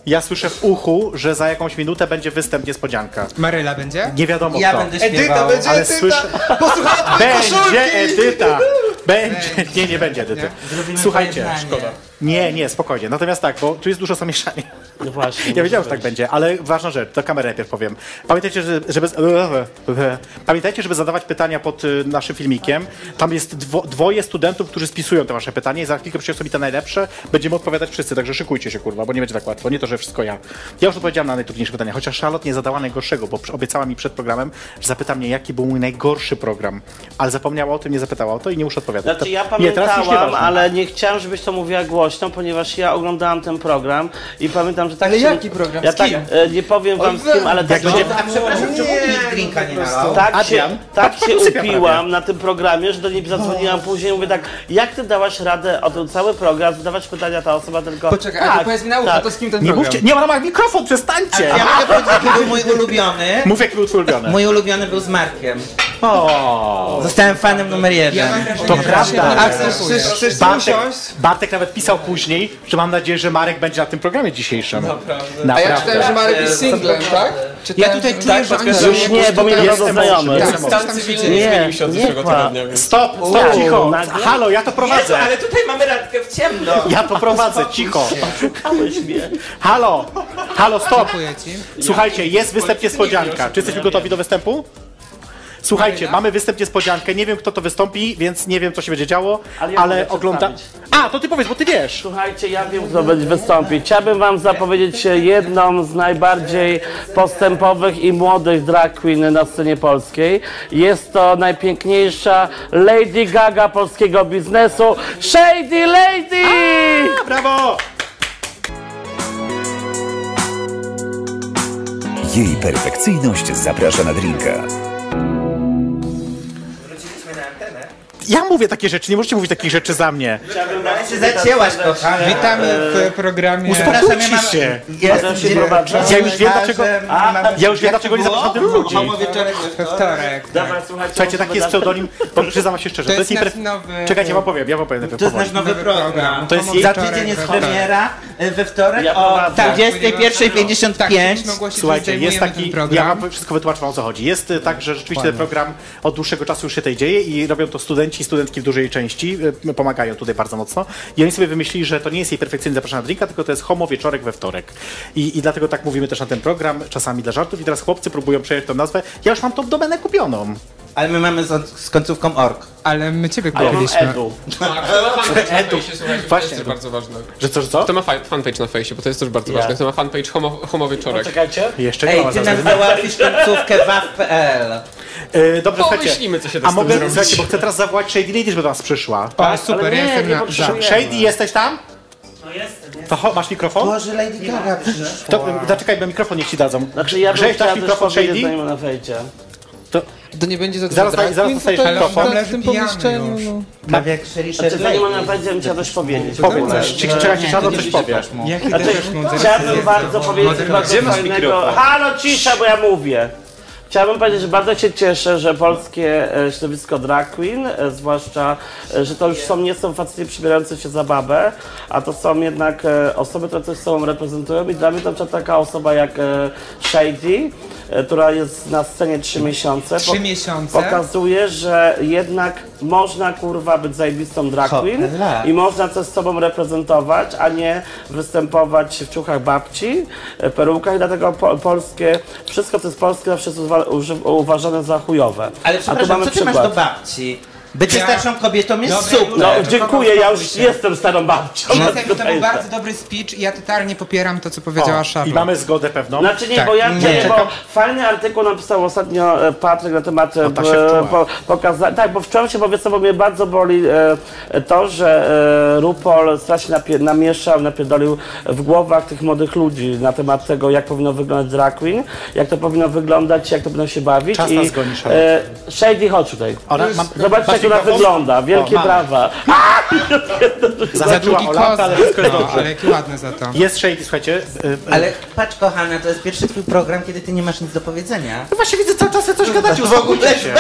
S3: ja słyszę w uchu, że za jakąś minutę będzie występ niespodzianka.
S7: Maryla będzie?
S3: Nie wiadomo
S8: Ja
S3: kto.
S8: będę śpiewał.
S3: ale słyszę,
S7: Posłuchaj,
S3: będzie Edyta, będzie, nie, nie będzie Edyty.
S8: Zrobimy
S3: Słuchajcie,
S8: pojednanie.
S3: nie, nie, spokojnie, natomiast tak, bo tu jest dużo zamieszania.
S2: No właśnie.
S3: Ja wiedziałem, że tak będzie, ale ważna rzecz, do kamery najpierw powiem. Pamiętajcie, że- żeby, pamiętajcie, żeby zadawać pytania pod y, naszym filmikiem. Tam jest dwo, dwoje studentów, którzy spisują te wasze pytania i za chwilkę przyniosą mi te najlepsze. Będziemy odpowiadać wszyscy, także szykujcie się, kurwa, bo nie będzie tak łatwo. Nie to, że wszystko ja. Ja już odpowiedziałam na najtrudniejsze pytania, chociaż Charlotte nie zadała najgorszego, bo przy- obiecała mi przed programem, że zapyta mnie, jaki był mój najgorszy program. Ale zapomniała o tym, nie zapytała o to i nie muszę odpowiadać.
S2: Znaczy ja
S3: Nie, teraz już
S2: pamiętałam,
S3: nieważne.
S2: ale nie chciałam, żebyś to mówiła głośno, ponieważ ja oglądałam ten program i pamiętam, że tak
S5: Ale
S2: się...
S5: jaki program?
S2: Ja
S5: Z
S2: tak,
S5: kim?
S2: e, nie powiem wam z kim, ale tak,
S3: będzie-
S8: A przepraszam, czemu nikt drinka
S7: no,
S8: nie nalał?
S2: tak
S3: Adrian?
S2: się, tak się
S3: Sypia prawie.
S2: upiłam na tym programie, że do niej
S5: No.
S2: zadzwoniłam później i mówię tak, jak ty dałaś radę o ten cały program, zadawać pytania ta osoba tylko...
S5: Poczekaj,
S2: tak,
S5: a to powiedz mi na ucho,
S2: tak.
S5: to z kim ten
S3: Nie
S5: program?
S3: mówcie, nie, ona ma mikrofon, przestańcie!
S8: Ja mogę powiedzieć, jaki był mój ulubiony.
S3: Mów, jaki był twój ulubiony.
S8: Mój ulubiony był z Markiem.
S2: No.
S3: O.
S8: Zostałem fanem numer jeden.
S3: To prawda.
S5: A chcesz, chcesz, chcesz tu
S3: Bartek,
S5: usiąść?
S3: Bartek nawet pisał później, że mam nadzieję, że Marek będzie na tym programie dzisiejszym. Naprawdę.
S5: A ja czytałem, że Marek
S4: E,
S5: jest singlem, tak?
S7: Ja tutaj czuję,
S5: tak,
S7: że oni
S5: potwierdzam.
S7: są
S2: Już nie, bo mnie
S3: Jestem
S2: bardzo znajomy.
S3: mądrzy.
S4: Stan cywilny nie
S2: Nie,
S4: zmienił się od
S2: nie
S4: zeszłego
S2: kłam.
S4: tygodnia, więc...
S3: Stop, stop, cicho.
S2: nagle?
S3: Halo, ja to prowadzę.
S8: tutaj mamy radkę w ciemno.
S3: Ja to prowadzę, cicho.
S2: Kochałeś mnie.
S3: Halo, halo, stop.
S7: Dziękuję ci.
S3: Słuchajcie, jest występ niespodzianka. Czy jesteśmy gotowi do występu? Słuchajcie, mamy występ niespodziankę. Nie wiem, kto to wystąpi, więc nie wiem, co się będzie działo,
S2: Ale
S3: ale,
S2: ja mogę
S3: ogląda. A, to ty powiedz, bo ty wiesz.
S2: Słuchajcie, ja wiem, kto będzie wystąpić. Chciałbym wam zapowiedzieć jedną z najbardziej postępowych i młodych drag queen na scenie polskiej. Jest to najpiękniejsza Lady Gaga polskiego biznesu, Shady Lady!
S3: A, brawo!
S1: Jej perfekcyjność zaprasza na drinka.
S3: Ja mówię takie rzeczy, nie możecie mówić takich rzeczy za mnie.
S8: Się zacięłaś, kochana.
S7: Witamy w programie.
S3: Uspokójcie się!
S8: Jest
S2: się prowadzę.
S3: Ja już wiem, dlaczego- Ja już wiem, dlaczego nie zapraszam tych ludzi.
S7: We wtorek.
S2: Dobra, słuchajcie,
S3: Słuchajcie, taki jest pseudonim, to przyznam się szczerze.
S7: To jest
S3: imprez-
S7: nasz nowy-
S3: Czekajcie, ja wam powiem, ja wam powiem.
S8: To jest nasz nowy program.
S3: To jest
S8: Za
S7: wtorek,
S8: tydzień jest
S7: we wtorek.
S8: premiera e, we wtorek
S2: Ja
S8: o
S2: prowadzę.
S7: Tak, Tak,
S8: 21.55.
S7: chcieliśmy ogłosić, że
S3: Słuchajcie, jest
S7: zdejmujemy
S3: taki.
S7: ten program.
S3: Ja wam wszystko wytłumaczę o co chodzi. Jest y, tak, że rzeczywiście ten program od dłuższego czasu już się tej dzieje i robią to studenci i studentki w dużej części. y, Pomagają tutaj bardzo mocno. I oni sobie wymyślili, że to nie jest jej perfekcyjny zapraszana drinka, tylko to jest homo wieczorek we wtorek. I, I dlatego tak mówimy też na ten program, czasami dla żartów. I teraz chłopcy próbują przejąć tę nazwę. Ja już mam tą domenę kupioną.
S8: Ale my mamy z, z końcówką org.
S7: Ale my ciebie
S2: Ja mam
S7: kupiliśmy.
S2: Edu.
S4: Tak,
S3: Właśnie.
S4: Właśnie. To jest bardzo ważne.
S3: Że coś co?
S4: To ma fa- fanpage na fejsie, bo to jest też bardzo
S2: Ja.
S4: ważne. To ma fanpage homo, homo
S3: No,
S4: wieczorek.
S2: Czekajcie.
S3: Jeszcze nie
S8: Ej,
S3: ma
S8: ty
S3: nazwy.
S8: nam załatwisz końcówkę waw.pl.
S3: Y, Dobrze, słuchajcie.
S4: Pomyślimy, co się da
S3: A
S4: z tym
S3: mogę,
S4: zrobić.
S3: słuchajcie, bo chcę teraz zawołać Shady Lady, żeby do nas przyszła.
S7: O, super,
S2: nie,
S7: ja jestem
S2: nie
S7: na... za.
S2: potrzebuję.
S3: Shady, jesteś tam? No jestem. To cho- masz mikrofon?
S8: Boże, Lady Gaga przyszła.
S3: To, zaczekaj, bo mikrofon niech ci dadzą.
S2: Znaczy ja bym
S3: Grześ,
S2: chciała
S3: dasz
S2: też
S3: mikrofon
S2: powiedzieć
S3: Shady?
S2: znajomym na fejcie.
S5: To nie będzie za dużo
S3: Zaraz daj-
S5: drag
S3: zaraz
S5: queen,
S3: dostajesz
S5: to
S3: mikrofon.
S5: już w tym
S7: Pijamy
S5: pomieszczeniu.
S7: już.
S5: no.
S8: Tak jak Sherry
S2: Znaczy
S8: Sherry
S2: znajomym na
S8: Lady.
S2: fejcie bym chciała też powiedzieć.
S3: Powiedz coś. Czy- Czekajcie, Shadow coś powie.
S8: mu.
S7: Jaki
S2: Znaczy,
S7: też mądry
S2: chciałbym
S7: jest.
S2: bardzo powiedzieć
S6: Gdzie
S2: bardzo
S6: masz
S2: fajnego...
S6: mikrofon?
S2: Halo, cisza, bo ja mówię. Chciałbym powiedzieć, że bardzo się cieszę, że polskie e, środowisko drag queen, e, zwłaszcza, e, że to już są, nie są facety przybierający się za babę, a to są jednak e, osoby, które coś sobą reprezentują i dla mnie to na przykład taka osoba jak e, Shady, e, która jest na scenie trzy miesiące.
S7: Trzy
S2: Po-
S7: miesiące?
S2: Pokazuje, że jednak można kurwa być zajebistą drag
S8: Hop,
S2: queen
S8: la.
S2: i można coś z sobą reprezentować, a nie występować w ciuchach babci, e, perułkach i dlatego po, polskie, wszystko co jest polskie zawsze jest uwa- uży- uważane za chujowe.
S8: Ale
S2: a tu
S8: przepraszam,
S2: mamy
S8: co ty
S2: przykład.
S8: masz do babci? Bycie
S7: Ja-
S8: starszą kobietą jest
S7: Dobra,
S8: super.
S2: no
S7: Kogo
S2: dziękuję, ja już
S7: spróbujcie?
S2: jestem starą babcią.
S3: No,
S7: Jacek, to był bardzo dobry speech i ja totalnie popieram to, co powiedziała
S3: I
S7: Charlotte.
S3: mamy zgodę pewną.
S2: Znaczy nie,
S7: Tak,
S2: bo ja
S7: nie.
S2: nie, bo
S3: Czekam.
S2: fajny artykuł napisał ostatnio e, Patryk na temat e,
S3: ta się wczuła.
S2: po, pokaza- Tak, bo wczoraj się powiedzmy, bo mnie bardzo boli e, e, to, że e, RuPaul strasznie napie- namieszał, napierdolił w głowach tych młodych ludzi na temat tego, jak powinno wyglądać drag queen, jak to powinno wyglądać, jak to powinno się bawić.
S3: Czas nas goni,
S2: e, Shady, chodź tutaj.
S3: Ona, mam,
S2: Zobaczcie,
S3: masz
S2: jak ona
S3: mikrofon?
S2: wygląda.
S3: O,
S2: Wielkie
S3: mam.
S2: brawa.
S7: Za
S3: Zahaczyła
S7: długi
S3: o lampę, ale wszystko
S7: kozy.
S3: jest
S7: No,
S3: dobrze.
S7: ale jakie ładne za to.
S3: Jest Shady, słuchajcie. y, y,
S8: Ale patrz kochana, to jest pierwszy twój program, kiedy ty nie masz nic do powiedzenia.
S3: No właśnie widzę, cały czas coś gadacie, uspokójcie się.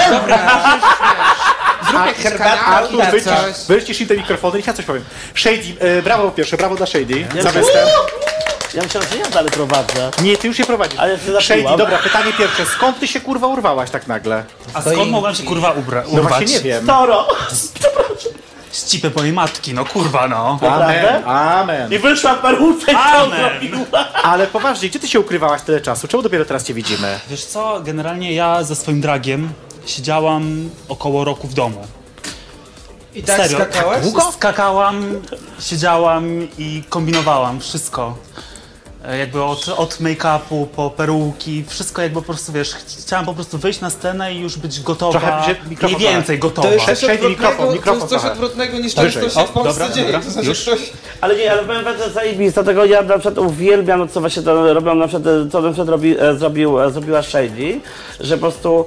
S7: Zrób jakiś kanał,
S3: Artur,
S7: zrób
S3: wycisz,
S7: coś.
S3: wycisz im te mikrofony, niech ja coś powiem. Shady, y, brawo po pierwsze, brawo dla Shady za
S2: się-
S3: występ.
S2: Ja myślałem, że ja dalej prowadzę.
S3: Nie, ty już się prowadzisz.
S2: Ale się
S3: Shady,
S2: zapiłam.
S3: dobra, pytanie pierwsze. Skąd ty się kurwa urwałaś tak nagle?
S9: A skąd mogłem się kurwa ubra- urwać?
S3: No właśnie nie wiem.
S2: Toro!
S9: Z cipy mojej matki, no kurwa no.
S3: Amen,
S2: Naprawdę?
S3: amen.
S2: I wyszła w peruce i to
S9: Amen.
S2: zrobiła.
S3: Ale poważnie, gdzie ty się ukrywałaś tyle czasu? Czemu dopiero teraz cię widzimy?
S9: Wiesz co, generalnie ja ze swoim dragiem siedziałam około roku w domu.
S7: I tak
S9: Serio?
S7: skakałaś?
S9: Długo? Skakałam, siedziałam i kombinowałam wszystko. E, Jakby od, od make-upu po peruki, wszystko jakby po prostu, wiesz, ch- chciałam po prostu wyjść na scenę i już być gotowa,
S3: Trochę się mikrofon
S9: mniej więcej gotowa.
S5: To jest coś
S3: Shady, mikrofon,
S5: odwrotnego, to
S3: mikrofon
S5: jest coś
S3: trochę.
S5: odwrotnego niż to, co się w Polsce dzieje. To znaczy ktoś-
S2: Ale nie, ale powiem wam, że zajebista, tego ja na przykład uwielbiam, co właśnie to robią, na przykład, e, co na przykład robi, e, zrobił, e, zrobiła Shady, że po prostu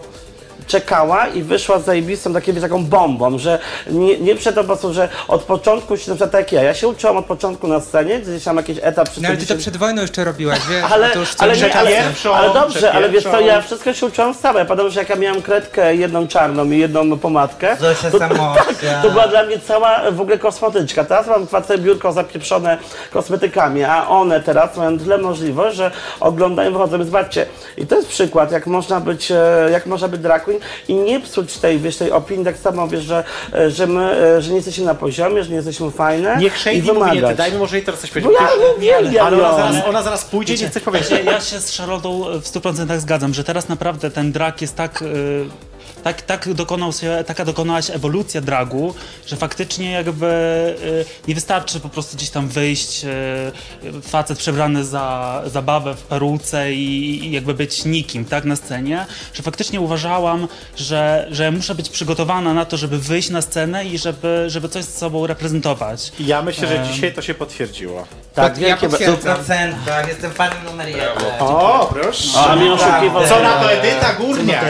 S2: czekała i wyszła z zajebistą takim, taką bombą, że nie, nie przed to po prostu, że od początku się na przykład tak jak ja, ja się uczyłam od początku na scenie, gdzieś tam jakiś etap
S7: No ale ty to
S2: się-
S7: przed wojną jeszcze robiłaś, wiesz? No
S2: ale,
S7: to już
S2: ale,
S7: coś-
S2: nie, ale,
S3: pierwszą,
S2: ale dobrze,
S3: przed
S2: ale wiesz co,
S3: pierwszą.
S2: ja wszystko się uczyłam sama. Ja pamiętam, że jak ja miałam kredkę, jedną czarną i jedną pomadkę,
S8: Zosia Samosja.
S2: to była dla mnie cała w ogóle kosmetyczka. Teraz mam facet biurko zapieprzone kosmetykami, a one teraz mają tyle możliwość, że oglądają, wychodzą i zobaczcie. I to jest przykład, jak można być, e, jak można być drag queen i nie psuć tej, wiesz, tej opinii tak samo, wiesz, że, e, że my, e, że nie jesteśmy na poziomie, że nie jesteśmy fajne
S3: Niech
S2: i
S3: Shady mówi, nie, ty
S2: wymagać.
S3: dajmy może jej teraz coś
S2: Bo
S3: powiedzieć.
S2: ja
S3: Ty-
S2: uwielbiam
S3: Ale ona
S2: ją.
S3: zaraz, ona zaraz pójdzie, nie chcesz powiedzieć.
S9: Ja, ja się z Charlotą w 100% zgadzam, że teraz naprawdę ten drak jest tak y, tak, tak dokonał się, taka dokonała się ewolucja dragu, że faktycznie jakby y, nie wystarczy po prostu gdzieś tam wyjść, y, facet przebrany za zabawę w peruce i, i jakby być nikim, tak, na scenie, że faktycznie uważałam, że, że muszę być przygotowana na to, żeby wyjść na scenę i żeby, żeby coś z sobą reprezentować.
S3: Ja myślę, że dzisiaj to się potwierdziło.
S7: Tak, ja potwierdzam.
S8: 100%, Tak, jestem fanem numer jeden.
S3: O, proszę.
S2: A mnie oszukiwał.
S3: Co na to Edyta Górniak?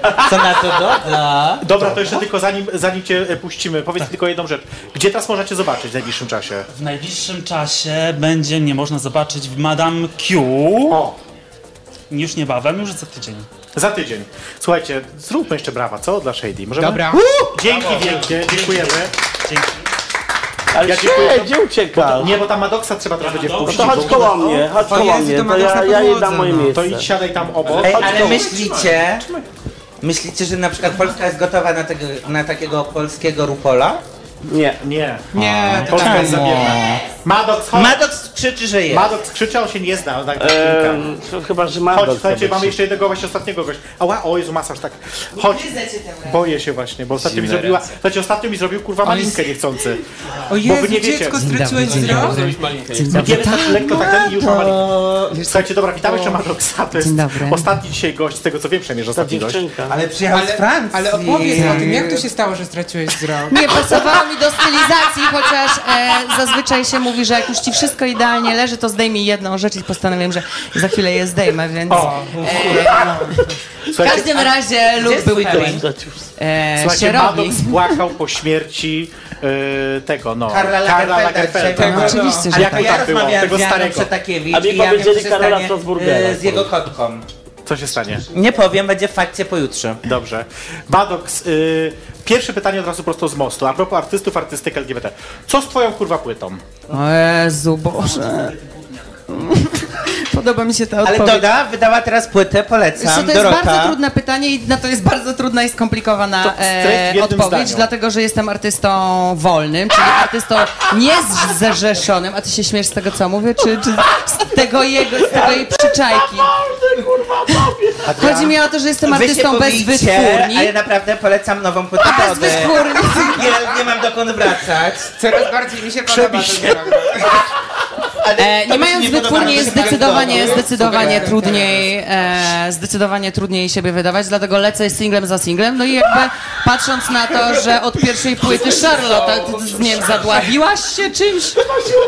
S8: tak. Co na to doda?
S3: Dobra, to jeszcze tylko zanim, zanim cię e, puścimy, powiedz tylko jedną rzecz. Gdzie teraz możecie zobaczyć w najbliższym czasie?
S9: W najbliższym czasie będzie mnie można zobaczyć w Madame Q.
S3: O,
S9: Już niebawem, już za tydzień.
S3: za tydzień. Słuchajcie, zróbmy jeszcze brawa, co? Dla Shady. Możemy?
S7: Dobra.
S3: Dzięki wielkie, dziękujemy.
S9: Dzięki.
S2: Ale
S3: Ja
S2: ja
S3: dziękuję.
S2: się, gdzie uciekał?
S3: Nie, bo tam Madoksa trzeba teraz będzie
S2: No
S3: wpuścić.
S2: to chodź
S3: bo-
S2: koło mnie, chodź
S7: O
S2: koło
S7: Jezu,
S2: mnie,
S7: to
S2: to
S7: ma nas
S2: ja,
S7: na
S2: ja jej
S7: podłodze,
S2: dam moje
S7: no.
S2: miejsce.
S3: To idź siadaj tam obok.
S8: Ej, ale myślicie, myślicie, że na przykład Polska jest gotowa na, tego, na takiego polskiego rupola?
S2: Nie.
S3: Nie.
S7: Nie, to
S3: Polska
S7: tak.
S3: jest zabierna. Madok, chodź.
S8: Maddox krzyczy, że jest.
S3: Madok skrzyczał się nie znał. Tak,
S2: Em, chyba, że ma
S3: Chodź, słuchajcie, mamy jeszcze jednego, właśnie ostatniego gościa. Ała, o Jezu, masaż, tak. Chodź. Boję się właśnie, bo ostatnio mi
S6: Zimne
S3: zrobiła,
S6: ręce.
S3: słuchajcie, ostatnio mi zrobił kurwa
S7: On jest-
S3: malinkę niechcący.
S7: O
S3: wy
S7: Jezu,
S3: nie wiecie.
S7: dziecko straciłeś wzrok?
S4: Zrobić malinkę.
S3: Nie wiem, tak lekko tak ten i już ma malinkę. Słuchajcie, dobra, witamy jeszcze Madoksa, to jest
S10: dobry.
S3: ostatni dzisiaj gość, z tego co wiem przynajmniej, że
S2: Ta
S3: ostatni gość.
S2: dziewczynka.
S8: Ale przyjechał z
S7: Ale,
S8: Francji.
S7: ale opowiedz o tym, jak to się stało, że straciłeś wzrok?
S10: Nie pasowało mi do stylizacji, chociaż e, zazwyczaj się mówi, że jak już ci wszystko idealnie leży, to zdejmij jedną rzecz i postanowiłem, że za chwilę je zdejmę, więc w
S3: Słuchajcie,
S10: każdym razie lub był weekend. E,
S3: słuchajcie,
S10: się robi.
S3: Madok spłakał po śmierci e, tego, no,
S8: Karla Lagerfelda
S10: No,
S8: Tego,
S10: oczywiście,
S8: A
S10: że
S8: jak
S10: tak.
S8: ja
S3: tak było,
S8: rozmawiałem
S3: tego
S8: z Janą
S3: starego.
S8: Przetakiewicz
S2: A mnie
S8: i ja wiem, co
S2: powiedzieli
S8: się
S2: Karola
S8: stanie
S2: Strasburgera.
S8: e, z jego kotką.
S3: Co się stanie?
S8: Nie powiem, będzie w fakcie pojutrze.
S3: Dobrze. Badox, y, pierwsze pytanie od razu prosto z mostu. A propos artystów, artystyk LGBT. Co z twoją kurwa płytą?
S10: O Jezu Boże. Podoba mi się ta
S8: Ale
S10: odpowiedź.
S8: Doda wydała teraz płytę,
S10: Wiesz co,
S8: polecam,
S10: to jest
S8: Dorota.
S10: bardzo trudne pytanie i na to jest bardzo trudna i skomplikowana
S3: To straight w jednym
S10: e, odpowiedź,
S3: zdaniu.
S10: dlatego że jestem artystą wolnym, czyli artystą niezrzeszonym, a ty się śmiesz z tego co mówię, czy, czy z tego jego, z tego jej przyczajki. Chodzi mi o to, że jestem
S8: Wy się
S10: artystą bez
S8: boicie, e,
S10: wytwórni.
S8: ale naprawdę polecam nową płytę
S10: A, bez
S8: Dody.
S10: wytwórni.
S8: Nie, nie mam dokąd wracać.
S7: Coraz bardziej mi się podoba ten wzrok.
S10: E, nie
S8: mi się
S10: mając
S8: nie podoba,
S10: wytwórni
S8: to
S10: jest
S8: się tak
S10: zdecydowanie,
S8: zgadza.
S10: zdecydowanie
S7: Super.
S10: trudniej, e, zdecydowanie trudniej siebie wydawać, dlatego lecę singlem za singlem, no i jakby patrząc na to, że od pierwszej płyty Charlotte, ty- ty- nie wiem, zadławiłaś się czymś?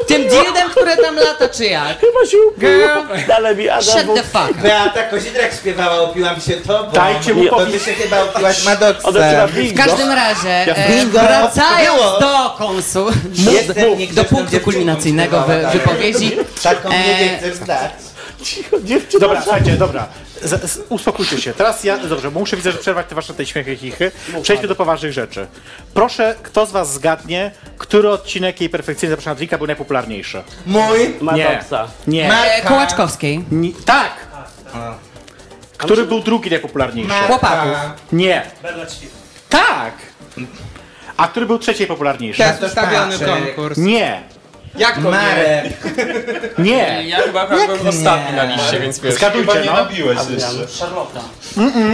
S10: Tym dildem, które tam lata, czy jak?
S2: Chyba się upił. Dalej mi Adam,
S10: Shut
S2: bo
S10: the fuck.
S8: Beata Kozidrak tak śpiewała, opiłam się tobą.
S3: Dajcie mu
S8: To ty
S3: powiedzieć.
S8: się chyba opiłaś Maddoxem.
S2: odeszła bingo.
S10: W każdym razie, e,
S8: Bingo,
S10: wracając
S8: było. No.
S10: do konsu,
S8: Jestem nigdy
S10: do
S8: w tym
S10: punktu
S8: dziewczynką
S10: kulminacyjnego
S8: śpiewała,
S10: wy,
S8: tak.
S10: wypowiedzi,
S8: Taką
S10: E,
S8: nie chcę zdać.
S2: Cicho, dziewczyna.
S3: Dobra, słuchajcie, dobra. Z, z, uspokójcie się. Teraz ja, dobrze, bo muszę widzę, że przerwać te wasze tej śmiechy chichy. Przejdźmy do poważnych rzeczy. Proszę, kto z was zgadnie, który odcinek jej perfekcyjnie zapraszam drinka był najpopularniejszy?
S8: Mój
S2: Madoksa.
S3: Nie.
S10: e, Kołaczkowskiej,
S3: Ni- tak! Który był drugi najpopularniejszy?
S7: No.
S10: chłopaków.
S3: Nie. Tak! A który był trzeci najpopularniejszy?
S7: Teraz ustawiony
S8: Paczek.
S7: konkurs.
S3: Nie.
S5: Jak to nie?
S8: Marek.
S3: Nie.
S5: Ja chyba byłem ostatni na liście, więc wiesz.
S3: Zgadujcie,
S6: nie
S3: no.
S6: nabiłeś jeszcze.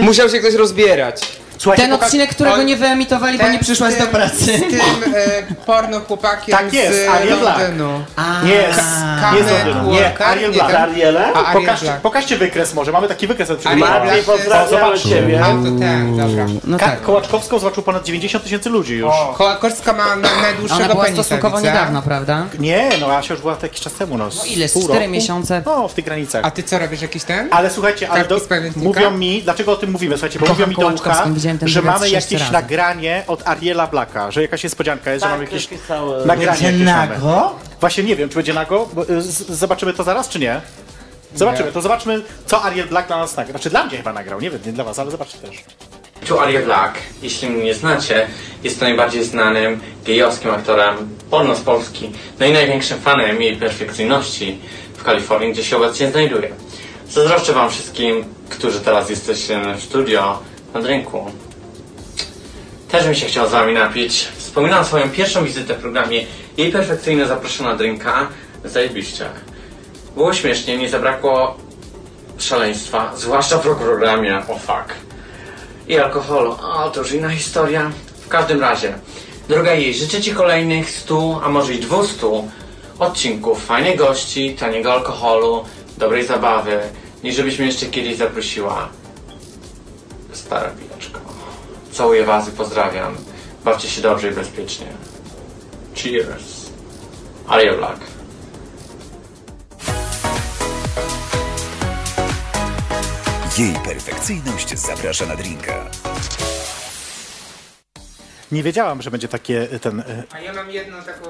S5: Musiał się ktoś rozbierać.
S3: Słuchajcie,
S10: Ten
S3: poka-
S10: odcinek, którego nie wyemitowali, bo nie przyszłaś do pracy.
S7: Z tym e, porno chłopakiem
S3: Tak jest,
S7: z e,
S3: Ariel Black.
S7: Londynu.
S3: Nie, jest.
S7: Kamek,
S3: Nie jest Londynu. Nie,
S7: Walker,
S3: Ariel
S7: nie,
S3: Black.
S7: ten-
S2: Ariele?
S7: A Ariel
S3: Pokażcie,
S7: Black.
S3: pokażcie wykres może, mamy taki wykres. przed
S7: Ariel
S3: chwilą.
S7: Black.
S2: Marty,
S7: Zobaczcie.
S2: pozdrawiamy
S3: Zobaczcie.
S7: A
S2: ciebie.
S7: to ten, dobra.
S10: No
S3: Ka-
S10: tak.
S3: Kołaczkowską zobaczył ponad 90 tysięcy ludzi już.
S7: Kołaczkowska ma na, najdłuższego
S10: Ona była
S7: penisa,
S10: stosunkowo
S7: widzę.
S10: niedawno, prawda?
S3: Nie, no Asia już była to jakiś czas temu, no.
S10: No ile, z
S3: pół
S10: cztery
S3: roku?
S10: miesiące?
S3: No, w tych granicach.
S7: A ty co, robisz jakiś ten?
S3: Ale słuchajcie, ale
S7: Kartki
S3: do,
S7: z pamiętnika?
S3: mówią mi, dlaczego o tym mówimy, słuchajcie, bo
S10: Kocham
S3: mówią mi do ucha,
S10: Kołaczkowską, widziałem ten
S3: że
S10: wywiad
S3: mamy
S10: z sześć
S3: jakieś
S10: razy.
S3: nagranie od Ariela Blacka, że jakaś niespodzianka jest,
S2: Tak,
S3: że mamy jakieś
S2: napisałem.
S3: nagranie
S8: Będzie
S3: jakieś mamy.
S8: nago?
S3: Właśnie nie wiem, czy będzie nago, bo, y, z, zobaczymy to zaraz, czy nie? Zobaczymy, to zobaczmy, co Ariel Black dla nas nagrał. Znaczy dla mnie chyba nagrał, nie wiem, nie dla was, ale zobaczcie też.
S11: Tu Ariel Black, jeśli mnie nie znacie, jest najbardziej znanym gejowskim aktorem porno z Polski, no i największym fanem jej perfekcyjności w Kalifornii, gdzie się obecnie znajduje. Zazdroszczę wam wszystkim, którzy teraz jesteście w studio na drinku. Też mi się chciał z wami napić. Wspominam swoją pierwszą wizytę w programie Jej perfekcyjna zaproszona drinka. Zajebiście. Było śmiesznie, nie zabrakło szaleństwa, zwłaszcza w programie, o fuck. i alkoholu. O, to już inna historia. W każdym razie, droga jej, życzę Ci kolejnych 100, a może i 200 odcinków. Fajnych gości, taniego alkoholu, dobrej zabawy. I żebyś mnie jeszcze kiedyś zaprosiła. Stara pijaczko. Całuję Was i pozdrawiam. Bawcie się dobrze i bezpiecznie. Cheers. Ariel Black.
S1: Jej perfekcyjność zaprasza na drinka.
S3: Nie wiedziałam, że będzie takie y, ten. y,
S7: A ja mam jedną taką...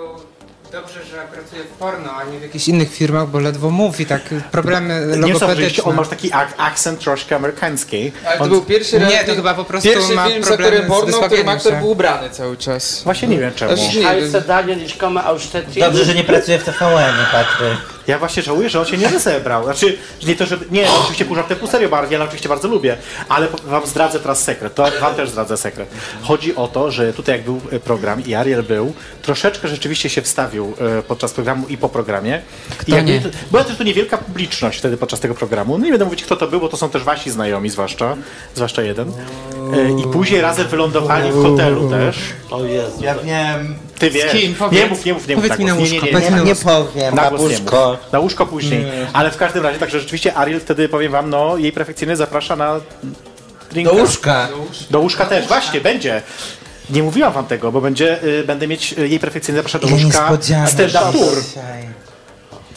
S7: Dobrze, że pracuję w porno, a nie w jakichś innych firmach, bo ledwo mówi, tak problemy
S3: Nie są
S7: logopedyczne.
S3: on masz taki ak- akcent troszkę amerykański.
S5: Ale to
S3: On-
S5: był pierwszy raz.
S7: Nie, to chyba po prostu
S5: Pierwszy
S7: ma
S5: film z
S7: problemy
S5: aktorem
S7: z
S5: porno, w którym
S7: dysfagieniem
S5: aktor
S7: się.
S5: był ubrany cały czas.
S3: Właśnie nie wiem czemu.
S5: Znaczy, nie
S2: Heiße
S5: wiem.
S2: Daniel, ich komme aus Stettin.
S8: Dobrze, że nie pracuję w TVN, Patryk.
S3: Ja właśnie żałuję, że on się nie rozebrał. Znaczy, że nie to, że. Nie, no, oczywiście pół żartem, pół serio bardziej, ale oczywiście bardzo lubię. Ale po- wam zdradzę teraz sekret. To wam też zdradzę sekret. Chodzi o to, że tutaj jak był e, program i Ariel był, troszeczkę rzeczywiście się wstawił e, podczas programu i po programie. I jakby
S10: nie?
S3: to- była też tu niewielka publiczność wtedy podczas tego programu. No nie będę mówić, kto to był, bo to są też wasi znajomi zwłaszcza, zwłaszcza jeden. E, I później razem wylądowali w hotelu też.
S2: O Jezu.
S8: Ja wiem.
S3: Ty wiesz.
S5: kim?
S3: Nie
S5: Powiedz.
S3: mów, nie mów, nie mów.
S7: Powiedz
S3: tak
S7: mi
S3: głos.
S7: na
S3: Nie,
S7: łóżko,
S3: nie, nie,
S7: powiedz
S3: nie.
S7: mi
S8: Nie, nie powiem,
S3: Na łóżko.
S8: babuszko.
S3: Na łóżko później. Ale w każdym razie, także rzeczywiście Ariel wtedy, powiem wam, no jej perfekcyjny zaprasza na drinka.
S8: Do łóżka.
S3: Do łóżka też, właśnie, będzie. Nie mówiłam wam tego, bo będzie, y, będę mieć y, jej perfekcyjny zaprasza do
S8: Ile
S3: łóżka
S8: niespodzianek
S3: stand-up tour.
S8: dzisiaj.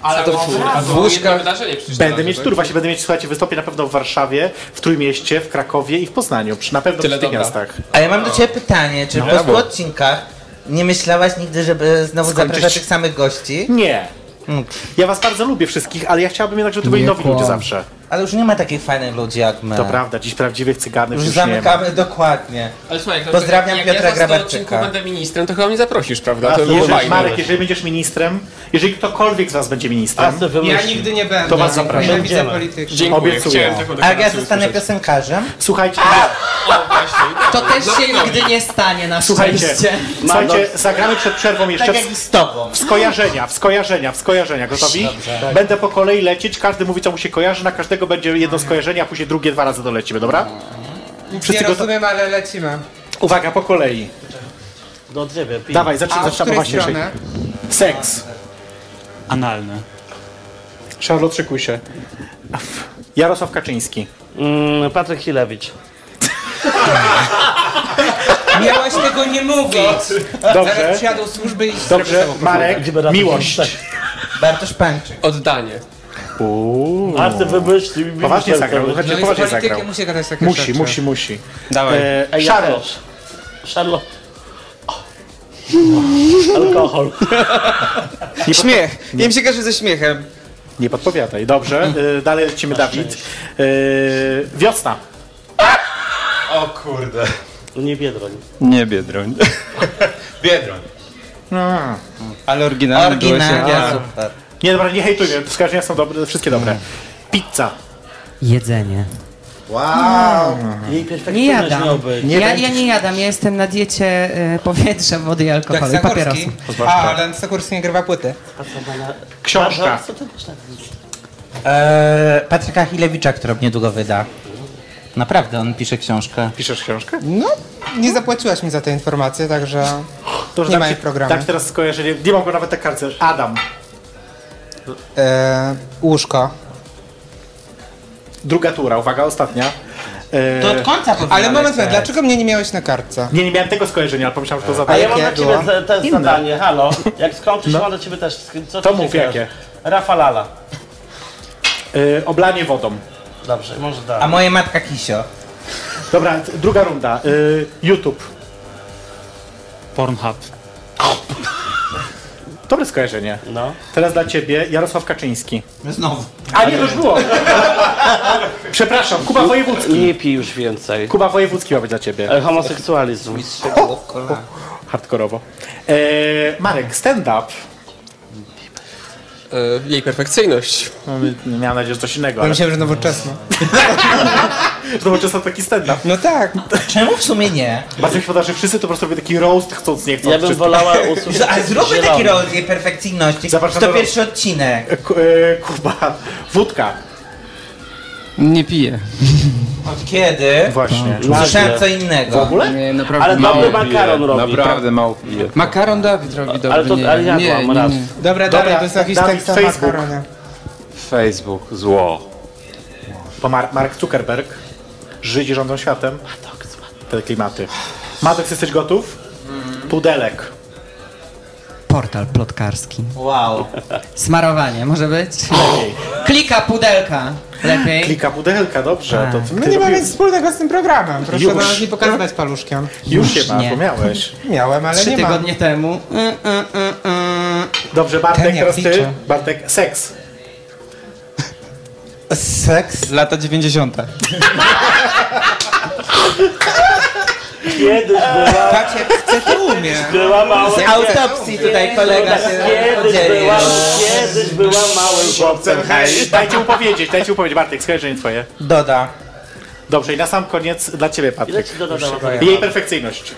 S4: Ale to w łóżkach. wydarzenie przecież
S3: Będę
S4: teraz,
S3: mieć
S4: tak?
S3: tour, właśnie będę mieć, słuchajcie, wystąpię na pewno w Warszawie, w Trójmieście, w Krakowie i w Poznaniu. Przy, na pewno
S4: Tyle
S3: w tych
S4: dobra.
S3: miastach.
S8: A ja mam do ciebie pytanie,
S3: No,
S8: czy po 100 odcinkach nie myślałaś nigdy, żeby znowu
S3: Skończyć.
S8: zapraszać tych samych gości?
S3: Nie.
S8: Mm,
S3: Ja was bardzo lubię wszystkich, ale ja chciałabym jednak, żeby to byli
S5: Nie
S3: nowi ludzie
S5: kłam.
S3: zawsze.
S8: Ale już nie ma takich fajnych ludzi jak my.
S3: To prawda, dziś prawdziwych cygarnych
S8: Już
S3: już nie ma.
S8: Tak. zamykamy dokładnie.
S4: Ale słuchaj, jak
S8: Pozdrawiam
S4: jak
S8: Piotra
S4: ja za 100
S8: Grabarczyka.
S4: odcinków będę ministrem, to chyba mnie zaprosisz, prawda?
S3: A
S4: To by było
S3: jeżeli,
S4: fajne.
S3: Marek, jeżeli będziesz ministrem, jeżeli ktokolwiek z was będzie
S2: A
S3: ministrem,
S2: co
S7: Ja
S2: wymyślił?
S7: nigdy nie będę.
S3: To was zapraszam.
S7: Nienawidzę
S2: Będziemy.
S7: polityki.
S4: Dziękuję,
S3: Obiecuję.
S4: chciałem taką
S8: A jak ja
S4: deklarację
S8: zostanę
S4: usłyszeć.
S8: piosenkarzem?
S3: słuchajcie,
S4: O, właśnie.
S10: To też się nigdy nie stanie na
S3: No. słuchajcie,
S10: szczęście.
S3: słuchajcie, zagramy przed przerwą jeszcze
S8: Tak
S3: w,
S8: jak i z tobą.
S3: w skojarzenia, w skojarzenia, w skojarzenia, gotowi? Tak. Będę po kolei lecieć, każdy mówi co mu się kojarzy, na każdego będzie jedno skojarzenie, a później drugie dwa razy dolecimy, dobra?
S7: Nie
S3: Wszyscy gotowi?
S7: rozumiem, ale lecimy.
S3: Uwaga, po kolei.
S2: Do ciebie, pij.
S3: Dawaj, zacz-
S7: A z
S3: zaczynamy
S7: której
S3: właśnie.
S7: strony?
S3: Seks.
S9: Analny.
S3: Charlotte, szykuj się. Jarosław Kaczyński.
S2: Mm, Patryk Chilewicz.
S7: Miałaś tego nie mówić.
S3: Dobrze,
S7: Zaraz przyjadą służby i...
S3: dobrze, Marek, miłość.
S8: Bartosz Pańczyk.
S4: Oddanie.
S2: A ty wymyślił. mi
S3: Poważnie
S2: wymyślił.
S3: zagrał, słuchajcie,
S7: No i z
S3: poważnie zagrał.
S7: politykiem musi gadać takie
S3: Musi,
S7: rzeczy.
S3: musi, musi.
S5: Dawaj.
S3: E,
S2: Ej, ja
S3: Charlotte.
S2: też. Charlotte. Alkohol.
S5: Śmiech. Nie wiem się każe ze śmiechem.
S3: Nie podpowiadaj, dobrze. Y, dalej lecimy, Dawid. Y, wiosna.
S6: O kurde.
S2: No Nie Biedroń.
S6: Nie Biedroń. Biedroń.
S5: Ale oryginalny byłeś.
S8: Oryginalna,
S7: Tak.
S8: super.
S3: No. Nie, dobra, nie hejtujmy, wskażenia są dobre, wszystkie dobre. Pizza.
S10: Jedzenie.
S2: Jej
S10: Nie
S2: perfekcyjność
S10: jadam.
S2: miał być.
S3: Nie
S10: ja,
S3: będziesz-
S10: ja nie jadam, ja jestem na diecie y, powietrza, wody i
S7: Jak
S10: alkoholu, i papierosów.
S7: Sakurski. Tak. A, ale Sakurski nie grywa płyty.
S3: Książka.
S2: Co ty też tak mówisz?
S8: Eee, Patryka Chilewicza, którą niedługo wyda. Naprawdę, on pisze książkę.
S3: Piszesz książkę?
S7: No, nie zapłaciłaś mi za tę informację, także...
S3: To, że
S7: Nie
S3: dam
S7: ma
S3: ci-
S7: jej w programie.
S3: dam ci teraz skojarzenie, nie mam go nawet na kartce. Adam.
S7: E, łóżko.
S3: Druga tura, uwaga, ostatnia. Y,
S8: To od końca powinna
S7: Ale moment,
S8: lecieć.
S7: dlaczego mnie nie miałeś na kartce?
S3: nie, nie miałem tego skojarzenia, ale pomyślałem, że to
S2: A ja
S3: zadaję.
S2: mam dla
S7: jakie
S2: ciebie
S7: było?
S2: te- też zadanie, halo. Jak skończysz, mam dla ciebie też. Co
S3: To
S2: ci się
S3: mów,
S2: kojarzy?
S3: jakie?
S2: Rafa Lala.
S3: Y, oblanie wodą.
S2: Dobrze, może tak.
S8: A
S2: dalej.
S8: moja matka Kisio.
S3: Dobra, t- druga runda. Y, YouTube.
S9: Pornhub.
S3: Dobre skojarzenie.
S2: No.
S3: Teraz dla ciebie Jarosław Kaczyński.
S8: Znowu.
S3: A nie, to już było. Przepraszam, Kuba Wojewódzki.
S2: Nie pij już więcej.
S3: Kuba Wojewódzki ma być dla ciebie.
S2: E, Homoseksualizm.
S3: hardkorowo. E, Marek, stand-up.
S4: E, Jej perfekcyjność.
S3: No, miałem nadzieję, że coś innego,
S7: Bo
S3: ale
S7: myślałem, że nowoczesne.
S3: znowu często taki stand-up.
S7: No tak.
S8: Czemu w sumie nie?
S3: Bardzo mi się podoba, że wszyscy to po prostu robią taki roast, chcąc, nie chcąc.
S2: Ja bym
S3: wszystko.
S2: wolała usłyszeć.
S8: A zróbmy
S2: zielony.
S8: taki rodzaj perfekcyjności.
S3: Zapraszam
S8: to
S3: do-
S8: pierwszy odcinek.
S3: E, Ku- e, Kuba, wódka.
S5: Nie piję.
S8: Od kiedy?
S2: Mm.
S3: Właśnie.
S8: Słyszałem co innego.
S2: W ogóle?
S5: Nie, naprawdę.
S2: Ale
S4: No,
S5: mało
S2: dobry
S5: piję.
S2: makaron robi.
S6: Naprawdę mało piję.
S5: Makaron Dawid robi dobrze.
S2: Ale to
S5: nie,
S2: ale ja
S5: nie,
S2: byłam
S5: nie,
S2: raz.
S5: nie.
S7: Dobra, dalej, to jest jakiś
S3: Dawid,
S7: tekst
S3: Facebook.
S7: makarona.
S6: Facebook, zło.
S3: Bo Mar- Mark Zuckerberg, Żydzi rządzą światem. Te klimaty. Matek, jesteś gotów? Pudelek.
S10: Portal plotkarski.
S8: Wow.
S10: Smarowanie, może być? Klika pudelka. Lepiej.
S3: Klika pudelka, dobrze. To
S7: My
S3: ty
S7: No nie mamy
S3: robiłeś.
S7: nic wspólnego z tym programem. Proszę
S3: Już.
S7: nas nie pokazywać paluszkiem.
S3: Już się ma,
S10: nie.
S3: bo miałeś.
S7: Miałem, ale
S10: Trzy
S7: nie mam.
S10: tygodnie temu.
S3: No,
S10: Y, y, y, y.
S3: Dobrze, Bartek,
S7: Ten ja
S3: teraz ty.
S7: liczę.
S3: Bartek, seks.
S7: Seks?
S5: Lata 90.
S2: Kiedyś była,
S7: Tak jak w tytułumie.
S2: była mała...
S8: Z autopsji tutaj kolega
S3: no,
S8: się
S2: Kiedyś
S8: podzielił.
S2: była, kiedyś była małym chłopcem.
S3: Hej, dajcie mu powiedzieć, dajcie mu powiedzieć. Bartek, skojarzenie twoje.
S8: Doda.
S3: Dobrze, i na sam koniec dla ciebie,
S2: Ile
S3: Patryk.
S2: ci dodała ta
S3: Jej perfekcyjność.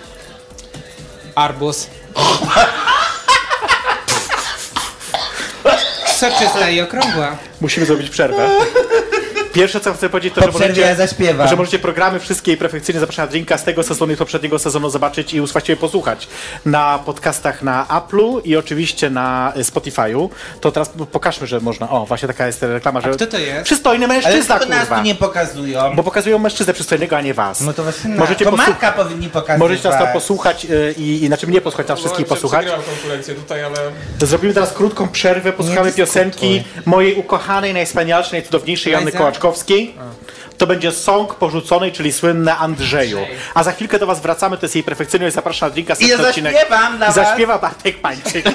S7: Arbus. Soczysta i okrągła.
S3: Musimy zrobić przerwę. Pierwsze, co chcę powiedzieć, to,
S8: Po
S3: że
S8: przerwie
S3: możecie,
S8: ja zaśpiewam.
S3: że możecie programy wszystkie i perfekcyjnie zapraszam na drinka z tego sezonu i z poprzedniego sezonu zobaczyć i właściwie posłuchać na podcastach na Apple'u i oczywiście na y, Spotify'u. To teraz pokażmy, że można. O, właśnie taka jest reklama, że...
S7: kto to jest?
S3: Przystojny
S8: Ale
S3: mężczyzna,
S8: tylko nas tu
S3: kurwa.
S8: nie pokazują.
S3: Bo pokazują mężczyznę przystojnego, a nie was.
S8: No to właśnie na...
S3: Możecie
S8: to
S3: posłu-
S8: Marka powinni pokazać.
S3: Możecie nas tam
S8: was.
S3: posłuchać y, i, i znaczy mnie posłuchać, nas wszystkich posłuchać.
S11: konkurencję tutaj, ale...
S3: Zrobimy teraz krótką przerwę, posłuchamy piosenki mojej ukochanej, najwspanialszej, najcudowniejszej Janny
S7: Liza?
S3: Kołaczkowskiej. To będzie song porzuconej, czyli słynne Andrzeju. A za chwilkę do Was wracamy, to jest jej perfekcyjność, zapraszam na drinka,
S8: I ja
S3: setny odcinek.
S8: zaśpiewam dla
S3: I
S8: was.
S3: zaśpiewa Bartek Pańczyk.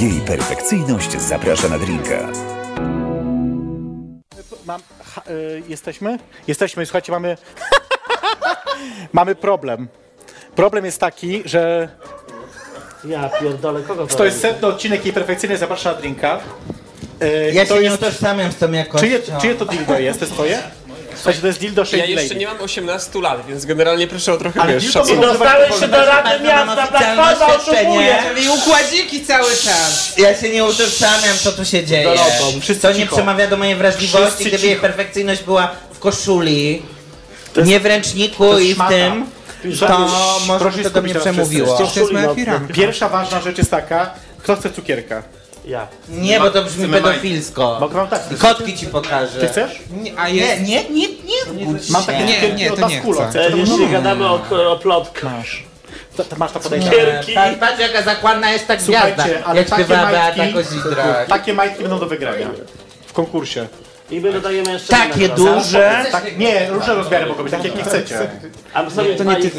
S1: Jej perfekcyjność zaprasza na drinka.
S3: Mam, ha, y, jesteśmy? Jesteśmy, słuchajcie, mamy... mamy problem. Problem jest taki, że
S2: Ja pierdolę, kogo to
S3: to jest setny odcinek jej perfekcyjność, zapraszam na drinka. Y,
S8: Ja się
S3: to
S8: nie
S3: jest-
S8: utożsamiam z tą jakością.
S3: Czyje, czyje to dildo jest? To jest twoje? Słuchajcie, to jest dildo Shady
S4: Ja jeszcze
S3: Lady.
S4: nie mam 18 lat, więc generalnie proszę o trochę
S3: Ale
S4: wiesz,
S3: Dildo
S4: szacunku.
S3: mogą
S2: Dostałeś się do Rady
S8: Marta, mam
S2: Miasta,
S8: oficjalne
S2: Platforma
S8: oświadczenie.
S2: oszukuje!
S7: Czyli układziki cały czas.
S8: Ja się nie utożsamiam, co tu się dzieje.
S3: Dorobą, wszyscy
S8: To nie
S3: cicho.
S8: przemawia do mojej wrażliwości,
S3: Wszyscy
S8: gdyby jej
S3: cicho.
S8: perfekcyjność była w koszuli, nie w ręczniku
S3: jest
S8: i w
S3: szmata.
S8: tym,
S3: Żadnych-
S8: to może
S3: Proszę
S8: by
S3: się
S8: to do mnie
S3: skupić teraz wszyscy.
S8: przemówiło.
S7: To jest moja piramka.
S3: Pierwsza ważna rzecz jest taka, kto chce cukierka?
S2: Ja.
S8: Nie, bo to brzmi pedofilsko.
S3: Mogę wam tak.
S8: I Kotki ci pokażę.
S3: Ty chcesz?
S7: Nie, A
S8: Nie,
S7: jest...
S8: nie, nie, nie. zgódź
S3: Mam
S8: się.
S3: takie
S7: Nie,
S3: cukierki
S7: nie,
S3: od
S7: to
S3: nas
S7: nie
S3: kulą.
S7: chcę.
S3: Chcesz?
S2: Teraz jeśli gadamy o, o plotkach.
S3: Masz. E, To, to masz to podejście.
S2: Cukierki.
S8: Pa- Patrz jaka zakładna jest ta gwiazda.
S3: Słuchajcie, ale
S8: Jak
S3: takie
S8: śpiewała Beata
S3: majtki,
S8: Kozidra.
S3: takie majtki będą do wygrania. W konkursie.
S2: I my dodajemy jeszcze
S8: Takie
S2: inne teraz.
S8: duże.
S3: Tak, nie, różne rozmiary mogą być, tak jak nie chcecie.
S2: A sobie to nie ty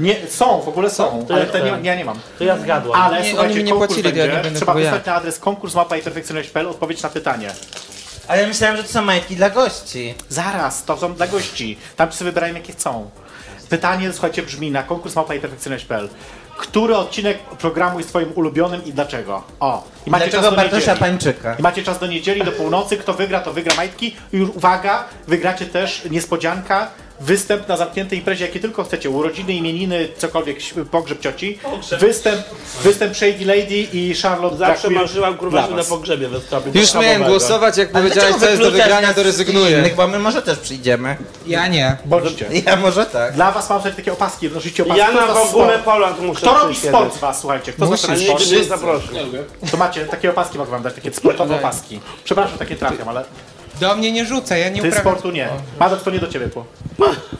S3: Nie, są, w ogóle są, ale te nie, ja nie mam.
S2: To ja zgadłam.
S3: Ale
S5: Nie,
S3: słuchajcie,
S5: oni mi nie
S3: konkurs
S5: płacili,
S3: będzie.
S5: ja nie będę
S3: Trzeba
S5: powiedział.
S3: wysłać na adres konkurs mapa i perfekcjonalność.pl odpowiedź na pytanie.
S8: Ale ja myślałem, że to są majtki dla gości.
S3: Zaraz, to są dla gości. Tam sobie wybierają jakie chcą. Pytanie, słuchajcie, brzmi na konkurs mapa i perfekcyjność.pl. Który odcinek programu jest twoim ulubionym i dlaczego? O, i macie
S8: Dlaczego
S3: czas do
S8: Bartosza
S3: niedzieli.
S8: Pańczyka?
S3: I macie czas do niedzieli, do północy. Kto wygra, to wygra majtki. I już uwaga, wygracie też niespodzianka, występ na zamkniętej imprezie, jakie tylko chcecie. Urodziny, imieniny, cokolwiek, ś- pogrzeb cioci. Występ, występ Shady Lady i Charlotte Drag
S2: Zawsze
S3: Queen
S2: marzyłam kurwa,
S3: tak, dla
S2: że na
S3: was.
S2: pogrzebie wystąpić.
S5: Już miałem
S2: Schabowego.
S5: głosować, jak powiedziałeś, co jest do
S8: wykluczasz
S5: wygrania,
S8: nas
S5: to
S8: z
S5: rezygnuję.
S8: innych, Bo my może też przyjdziemy.
S7: Ja nie.
S3: Bądźcie.
S8: Ja może tak.
S3: Dla was mam tutaj takie opaski, nosicie opaski.
S2: Ja
S3: Kto
S2: na
S3: z was
S2: w ogóle
S3: sport?
S2: Poland muszę
S3: Kto robi
S2: przyjść
S3: sport
S2: kiedyś.
S3: z was, słuchajcie? Kto Musisz,
S2: Ale
S3: zaczyna
S2: nigdy
S3: sport?
S2: nie zaprosił.
S3: To macie, takie opaski mogę wam dać, takie sportowe opaski. Przepraszam, takie trafiam, ale
S7: Do mnie nie rzucę, ja nie
S3: ty
S7: uprawiam.
S3: sportu nie. Madok, to nie do ciebie było.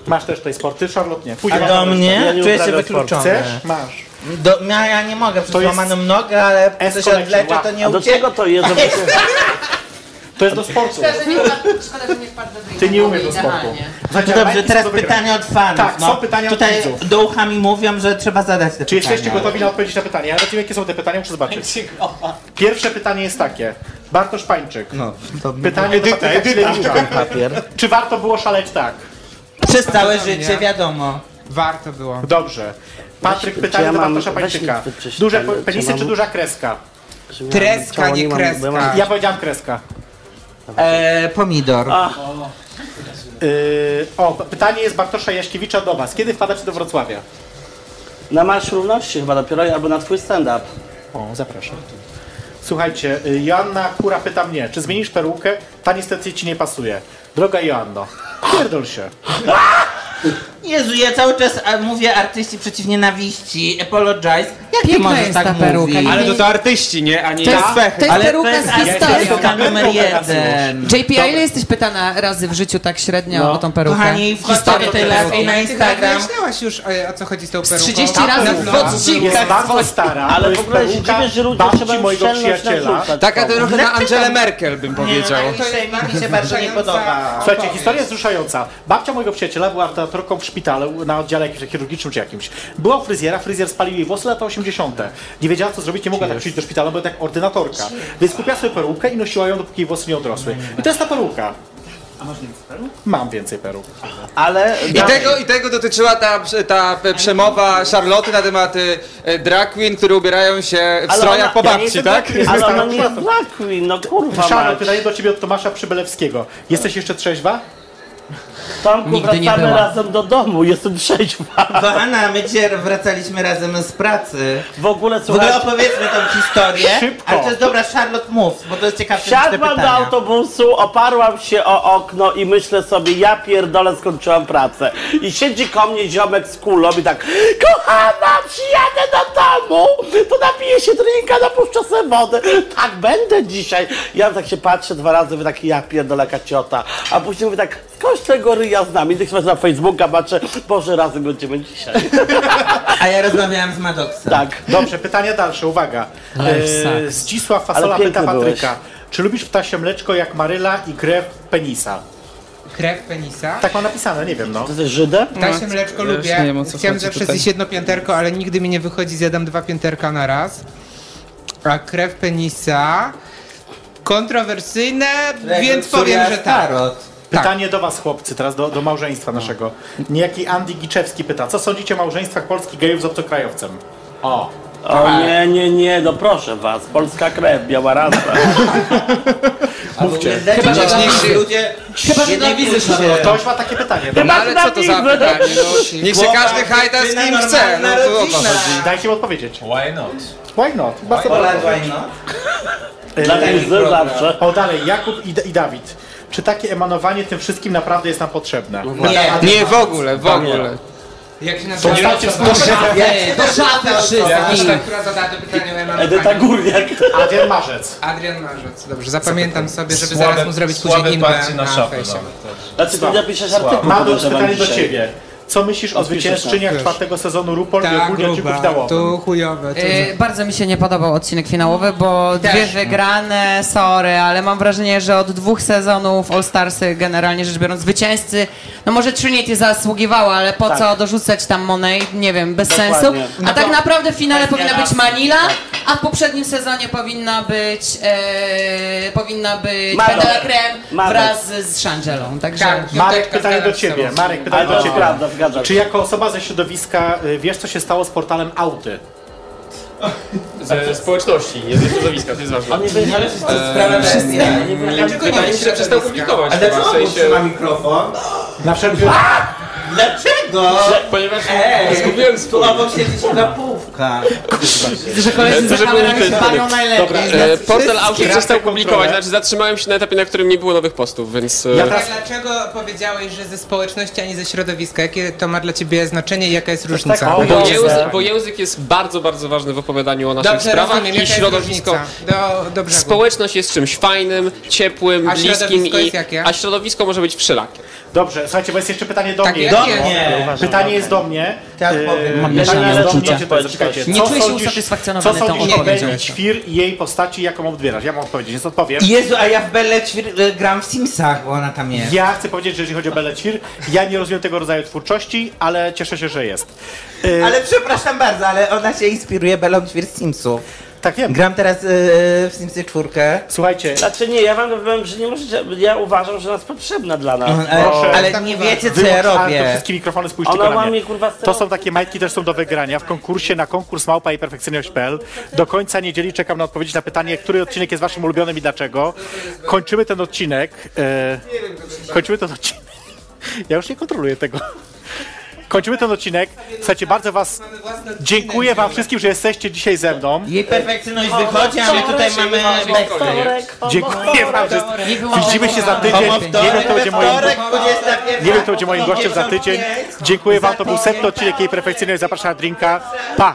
S3: Masz też tutaj sport, ty Charlotte nie.
S8: A
S3: Później masz
S8: do
S3: też-
S2: Ja
S8: mnie?
S2: nie
S8: Czuję się
S2: uprawiam
S8: wykluczony.
S3: Chcesz? Masz.
S8: Do, no, ja, ja nie mogę, przez
S3: To jest
S8: złamaną nogę, ale coś
S3: S-connection,
S8: odleczę, to
S3: łap.
S2: A
S8: nie
S2: do
S8: uciekł.
S2: czego to jest? Żeby się...
S3: To jest do sportu.
S10: Szkoda, że nie wpadł do drinka.
S3: Ty nie umiesz do
S10: Idealnie.
S3: sportu. Słuchajcie,
S8: No
S3: ale
S8: dobrze,
S3: majtki
S8: teraz
S3: są do wygrania.
S8: pytania od fanów.
S3: Tak,
S8: no.
S3: są pytania od
S8: Tutaj
S3: widzów.
S8: do ucha mi mówią, że trzeba zadać te
S3: Czy
S8: pytania.
S3: jesteście gotowi na odpowiedź na pytanie? Ja rozumiem, jakie są te pytania, muszę zobaczyć. Pierwsze pytanie jest takie. Bartosz Pańczyk.
S8: No, to
S3: Pytanie do Patryka Śledziuka.
S8: papier.
S3: Czy warto było szaleć tak?
S8: Przez całe
S7: Pytanie.
S8: życie, wiadomo.
S7: Warto było.
S3: Dobrze. Patryk,
S2: Weź-
S3: pytanie
S2: czy ja
S3: do
S2: mam-
S3: Bartosza
S2: weź mi
S3: Pańczyka.
S2: ty przeczytaj,
S3: Duże
S2: czy
S3: penisy
S2: mam-
S3: czy duża kreska?
S7: Treska,
S2: Ciało
S7: nie
S2: mam,
S7: kreska.
S2: bo ja mam-
S3: Ja powiedziałam kreska.
S8: E, pomidor.
S3: Yy, o, pytanie jest Bartosza Jaśkiewicza do Was. Kiedy wpadacie do Wrocławia?
S2: Na Marsz Równości chyba dopiero, albo na twój stand-up.
S3: O, zapraszam. Słuchajcie, y, Joanna Kura pyta mnie, czy zmienisz perukę? Ta niestety ci nie pasuje. Droga Joanno, pierdol się.
S8: Jezu, ja cały czas a, mówię artyści przeciw nienawiści, apologize. Jak ty
S10: Piękna
S8: możesz
S10: jest
S8: tak
S10: ta
S8: mówić?
S10: peruka, nie
S5: Ale to
S10: wiem.
S5: to artyści, nie? A nie
S10: To jest-
S7: Tak?
S5: ja.
S10: to jest
S8: Ale
S10: peruka
S8: to jest
S10: z historią.
S8: peruka numer jeden.
S10: JP, a ile jesteś pytana razy w życiu tak średnio
S5: No.
S10: o tą perukę?
S8: Kochani, wchodźcie
S10: Historię
S8: do
S10: tej
S8: tej laski
S10: peruki.
S8: na Instagram.
S7: Wyjaśniałaś Tak, już, e, o co chodzi z tą peruką. Tak?
S10: 30
S7: Ta
S10: razy
S7: peruka.
S10: w odcinkach.
S3: Jest bardzo stara,
S2: Ale
S3: to
S2: w
S3: jest
S2: ogóle się
S3: peruka
S2: dziwię, że ludzie
S3: babci
S2: trzeba
S3: mojego
S2: szczelność
S3: przyjaciela.
S2: narzucać.
S5: Taka trochę na
S8: Dlaczego?
S5: Angelę Merkel bym powiedział.
S8: Nie, no, Alicja, mi się bardzo nie podoba.
S3: Słuchajcie, historia jest wzruszająca. Babcia mojego przyjaciela była operatorką w szpitalu na oddziale jakimś chirurgicznym czy jakimś. Była u fryzjera, fryzjer spalił jej włosy lata 80. Nie wiedziała co zrobić, nie mogła tak przyjść do szpitala, bo tak ordynatorka. Więc kupiła sobie perukę i nosiła ją, dopóki jej włosy nie odrosły. I to jest ta peruka.
S9: A masz więcej peruk?
S3: Mam więcej peruk.
S2: Ale
S5: I tego, I tego dotyczyła ta, ta przemowa Charlotte na temat y, drag queen, które ubierają się w
S2: Ale
S5: strojach
S2: ona-
S5: po
S2: ja nie
S5: babci,
S2: jestem
S5: tak?
S2: ale ona nie jest drag queen, no kurwa
S3: Szano,
S2: mać.
S3: pytanie do ciebie od Tomasza Przybylewskiego. Jesteś jeszcze trzeźwa?
S2: Tomku,
S10: Nigdy nie
S2: wracamy
S10: była.
S2: razem do domu, jestem trzeźwa.
S8: Kochana, my dzisiaj wracaliśmy razem z pracy.
S2: W ogóle,
S8: W ogóle
S2: słuchaj,
S8: opowiedzmy tą historię.
S3: Szybko.
S8: Ale to jest dobra, Charlotte mów, bo to jest ciekawsze niż te
S2: Wsiadłam do
S8: pytania.
S2: autobusu, oparłam się o okno i myślę sobie, ja pierdolę, skończyłam pracę. I siedzi ko mnie ziomek z kulą i tak, kochana, przyjadę do domu, to napiję się drinka, napuszczę sobie wodę. Tak będę dzisiaj. Ja tak się patrzę dwa razy, mówię tak, ja pierdolę, jaka ciota. A później mówię tak, skądś tego ryja z nami. I tak sobie na Facebooka patrzę, Boże, razem będziemy dzisiaj.
S8: A ja rozmawiałam z Maddoxem.
S2: Tak.
S3: Dobrze, pytanie dalsze, uwaga. E, Zdzisław Fasola
S2: Ale
S3: pyta
S2: piękny byłeś.
S3: Patryka. Czy lubisz ptasie mleczko jak maryla i krew penisa?
S7: Krew penisa.
S3: Tak mam napisane, nie wiem no.
S2: To jest Żydem?
S7: Tasie mleczko
S5: ja już
S7: lubię.
S5: nie wiem, o co
S7: Chciałem
S5: chodzi
S7: zawsze
S5: tutaj.
S7: zjeść jedno pięterko, ale nigdy mi nie wychodzi, zjadam dwa pięterka na raz. A krew penisa. Kontrowersyjne, więc powiem, że tak.
S8: tarot.
S3: Pytanie do was, chłopcy, teraz do, do małżeństwa
S2: No.
S3: naszego. Niejaki Andy Giczewski pyta, co sądzicie o małżeństwach polskich gejów z obcokrajowcem? O,
S2: O nie, nie, nie, no proszę was, polska krew, biała rasa.
S3: mówcie.
S8: Chyba,
S5: że nie widzę.
S8: ludzie...
S5: Chyba, że
S8: Jednak
S5: nie widzę,
S8: ludzie-
S5: Charlotte.
S3: Ktoś ma takie pytanie.
S5: No ale co to za pytanie? No, niech się każdy hajda z kim chce. No to o to chodzi.
S3: Dajcie mi odpowiedzieć.
S6: Why not?
S3: Why not? Bardzo
S8: Pola
S3: proszę.
S8: Dwajno.
S2: Dlatego że zawsze.
S3: O, dalej, Jakub i, i Dawid. Czy takie emanowanie tym wszystkim naprawdę jest nam potrzebne?
S2: No
S8: Nie.
S5: Nie, w ogóle, w ogóle.
S7: Jak się nazywa?
S8: Nie, to żadne wszystkich.
S7: Ta, która zadała to pytanie o
S2: Edyta
S7: emanowanie.
S2: Górniak.
S3: Adrian Marzec.
S7: Adrian Marzec. Dobrze, zapamiętam sobie, żeby
S6: Słabe-
S7: zaraz mu zrobić
S6: słabe
S7: później inne
S6: parcie
S7: na
S6: na szafę
S10: no.
S7: fejsie.
S6: nawet.
S2: Znaczy, ty napiszesz artykuł.
S3: Madu,
S2: podejrzewam,
S3: pytanie do
S2: dzisiaj.
S3: ciebie. Co myślisz o
S2: Odpiszę Tak,
S3: zwyciężczyniach
S7: tak.
S3: czwartego sezonu RuPaul i
S7: Ta
S3: ogólnie odcinków
S7: gruba,
S3: finałowych?
S7: Tak. tu chujowe. Tu...
S10: Y, bardzo mi się nie podobał odcinek finałowy, bo
S2: Tak.
S10: dwie wygrane, sorry, ale mam wrażenie, że od dwóch sezonów All Starsy generalnie rzecz biorąc zwycięzcy, no może Trinity zasługiwała, ale po co dorzucać tam Monet, nie wiem, bez
S2: Tak. Dokładnie.
S10: sensu. A tak naprawdę w finale
S8: Bez
S10: powinna być
S8: relacji,
S10: Manila,
S7: Tak.
S10: a w poprzednim sezonie powinna być e, powinna być
S2: Madonna.
S10: Mandela Krem
S2: Madonna.
S10: wraz z Shangelą, także...
S7: Tak.
S3: Marek,
S7: Piąteczka,
S3: pytanie do
S7: zgadzam się
S3: ciebie.
S7: z tobą.
S3: Marek, pytanie
S2: Ale to
S3: do
S2: jest
S3: ciebie.
S2: prawda, zgadzam
S3: Czy
S2: się.
S3: jako osoba ze środowiska y, wiesz, co się stało z portalem Auty?
S4: Ze społeczności, nie ze środowiska, to jest ważne.
S2: Oni wyjechali
S8: Sprawa bestia.
S4: Wydaje mi się, że przestał publikować
S8: A
S4: chyba,
S8: dlaczego
S4: w
S8: on trzyma
S4: sensie,
S8: mikrofon?
S3: Na wszelki
S8: Dlaczego?
S4: ponieważ
S8: Ej,
S4: zgubiłem
S8: Tu
S4: spór.
S8: obok siedzi półka.
S10: Widzę, że koledzy za
S4: E, żeby były
S10: kamerami się
S4: te-
S10: bawią najlepiej.
S4: Dobra, e, portal Outlook przestał publikować, znaczy zatrzymałem się na etapie, na którym nie było nowych postów, więc... e,
S3: Ja teraz
S7: Ale Dlaczego powiedziałeś, że ze społeczności, a nie ze środowiska? Jakie to ma dla ciebie znaczenie i jaka jest różnica?
S2: tak, o,
S4: Bo,
S2: Dobrze.
S4: język, bo język jest bardzo, bardzo ważny w opowiadaniu o naszych
S7: Dobrze,
S4: sprawach
S7: rozumiem,
S4: i
S7: jaka jest
S4: środowisko.
S7: różnica? Do, do brzegu.
S4: Społeczność jest czymś fajnym, ciepłym,
S7: A
S4: bliskim
S7: środowisko
S4: i.
S7: jest jakie?
S4: A środowisko może być wszelakie.
S3: Dobrze, słuchajcie, bo jest jeszcze pytanie do
S7: Tak,
S3: mnie.
S7: jak jest?
S3: Pytanie jest do mnie.
S8: Ja
S3: Y,
S8: odpowiem.
S3: pytanie
S10: mieszane
S3: jest do
S10: uczucia.
S3: mnie, czy to jest- czekajcie,
S10: Nie
S3: co
S10: czuję się
S3: sądzisz-
S10: usatysfakcjonowany
S3: Co
S10: tą
S3: sądzisz o
S10: odpowiedzią
S3: Beni
S7: jeszcze.
S3: Ćwir i jej postaci, jaką odbierasz? Ja mam odpowiedzieć, więc odpowiem.
S8: Jezu, a ja w Belle Ćwir- y, gram w Simsach, bo ona tam jest.
S3: Ja chcę powiedzieć, że jeżeli chodzi o Belle Ćwir, ja nie rozumiem tego rodzaju twórczości, ale cieszę się, że jest. Y,
S8: Ale przepraszam bardzo, ale ona się inspiruje Belą Ćwir z Simsów.
S3: Tak wiem.
S8: Gram teraz y, y, w Simsy czwórkę. E,
S3: Słuchajcie,
S2: Znaczy nie, ja wam powiem, że nie możecie, ja uważam, że jest potrzebna dla
S3: No,
S2: nas.
S8: Ale,
S3: Proszę.
S8: ale
S7: Tak
S8: nie
S7: bardzo.
S8: wiecie co
S3: Wyłącz
S8: ja
S3: Artur,
S8: robię.
S3: wszystkie mikrofony spójrzcie
S2: Ona
S3: tylko na
S2: ma mnie
S3: mnie.
S2: kurwa
S3: To są takie majtki, też są do wygrania w konkursie na konkurs małpa i perfekcyjność.pl. Do końca niedzieli czekam na odpowiedzi na pytanie, który odcinek jest waszym ulubionym i dlaczego. Kończymy ten odcinek. E, kończymy ten odcinek. Ja już nie kontroluję tego. kończymy ten odcinek. Słuchajcie, bardzo was dziękuję wam wszystkim, że jesteście dzisiaj ze mną.
S8: Jej perfekcyjność wychodzi, a my tutaj mamy...
S3: Dziękuję wam
S10: Nie
S3: wszystkim.
S10: było
S3: Widzimy się za tydzień.
S8: Homo
S3: Nie wiem, kto będzie moim
S8: wtorek, 21.
S3: nie wiem, kto będzie moim gościem za tydzień. Dziękuję wam, to był setny odcinek jej perfekcyjnej. Zapraszam na drinka. Pa!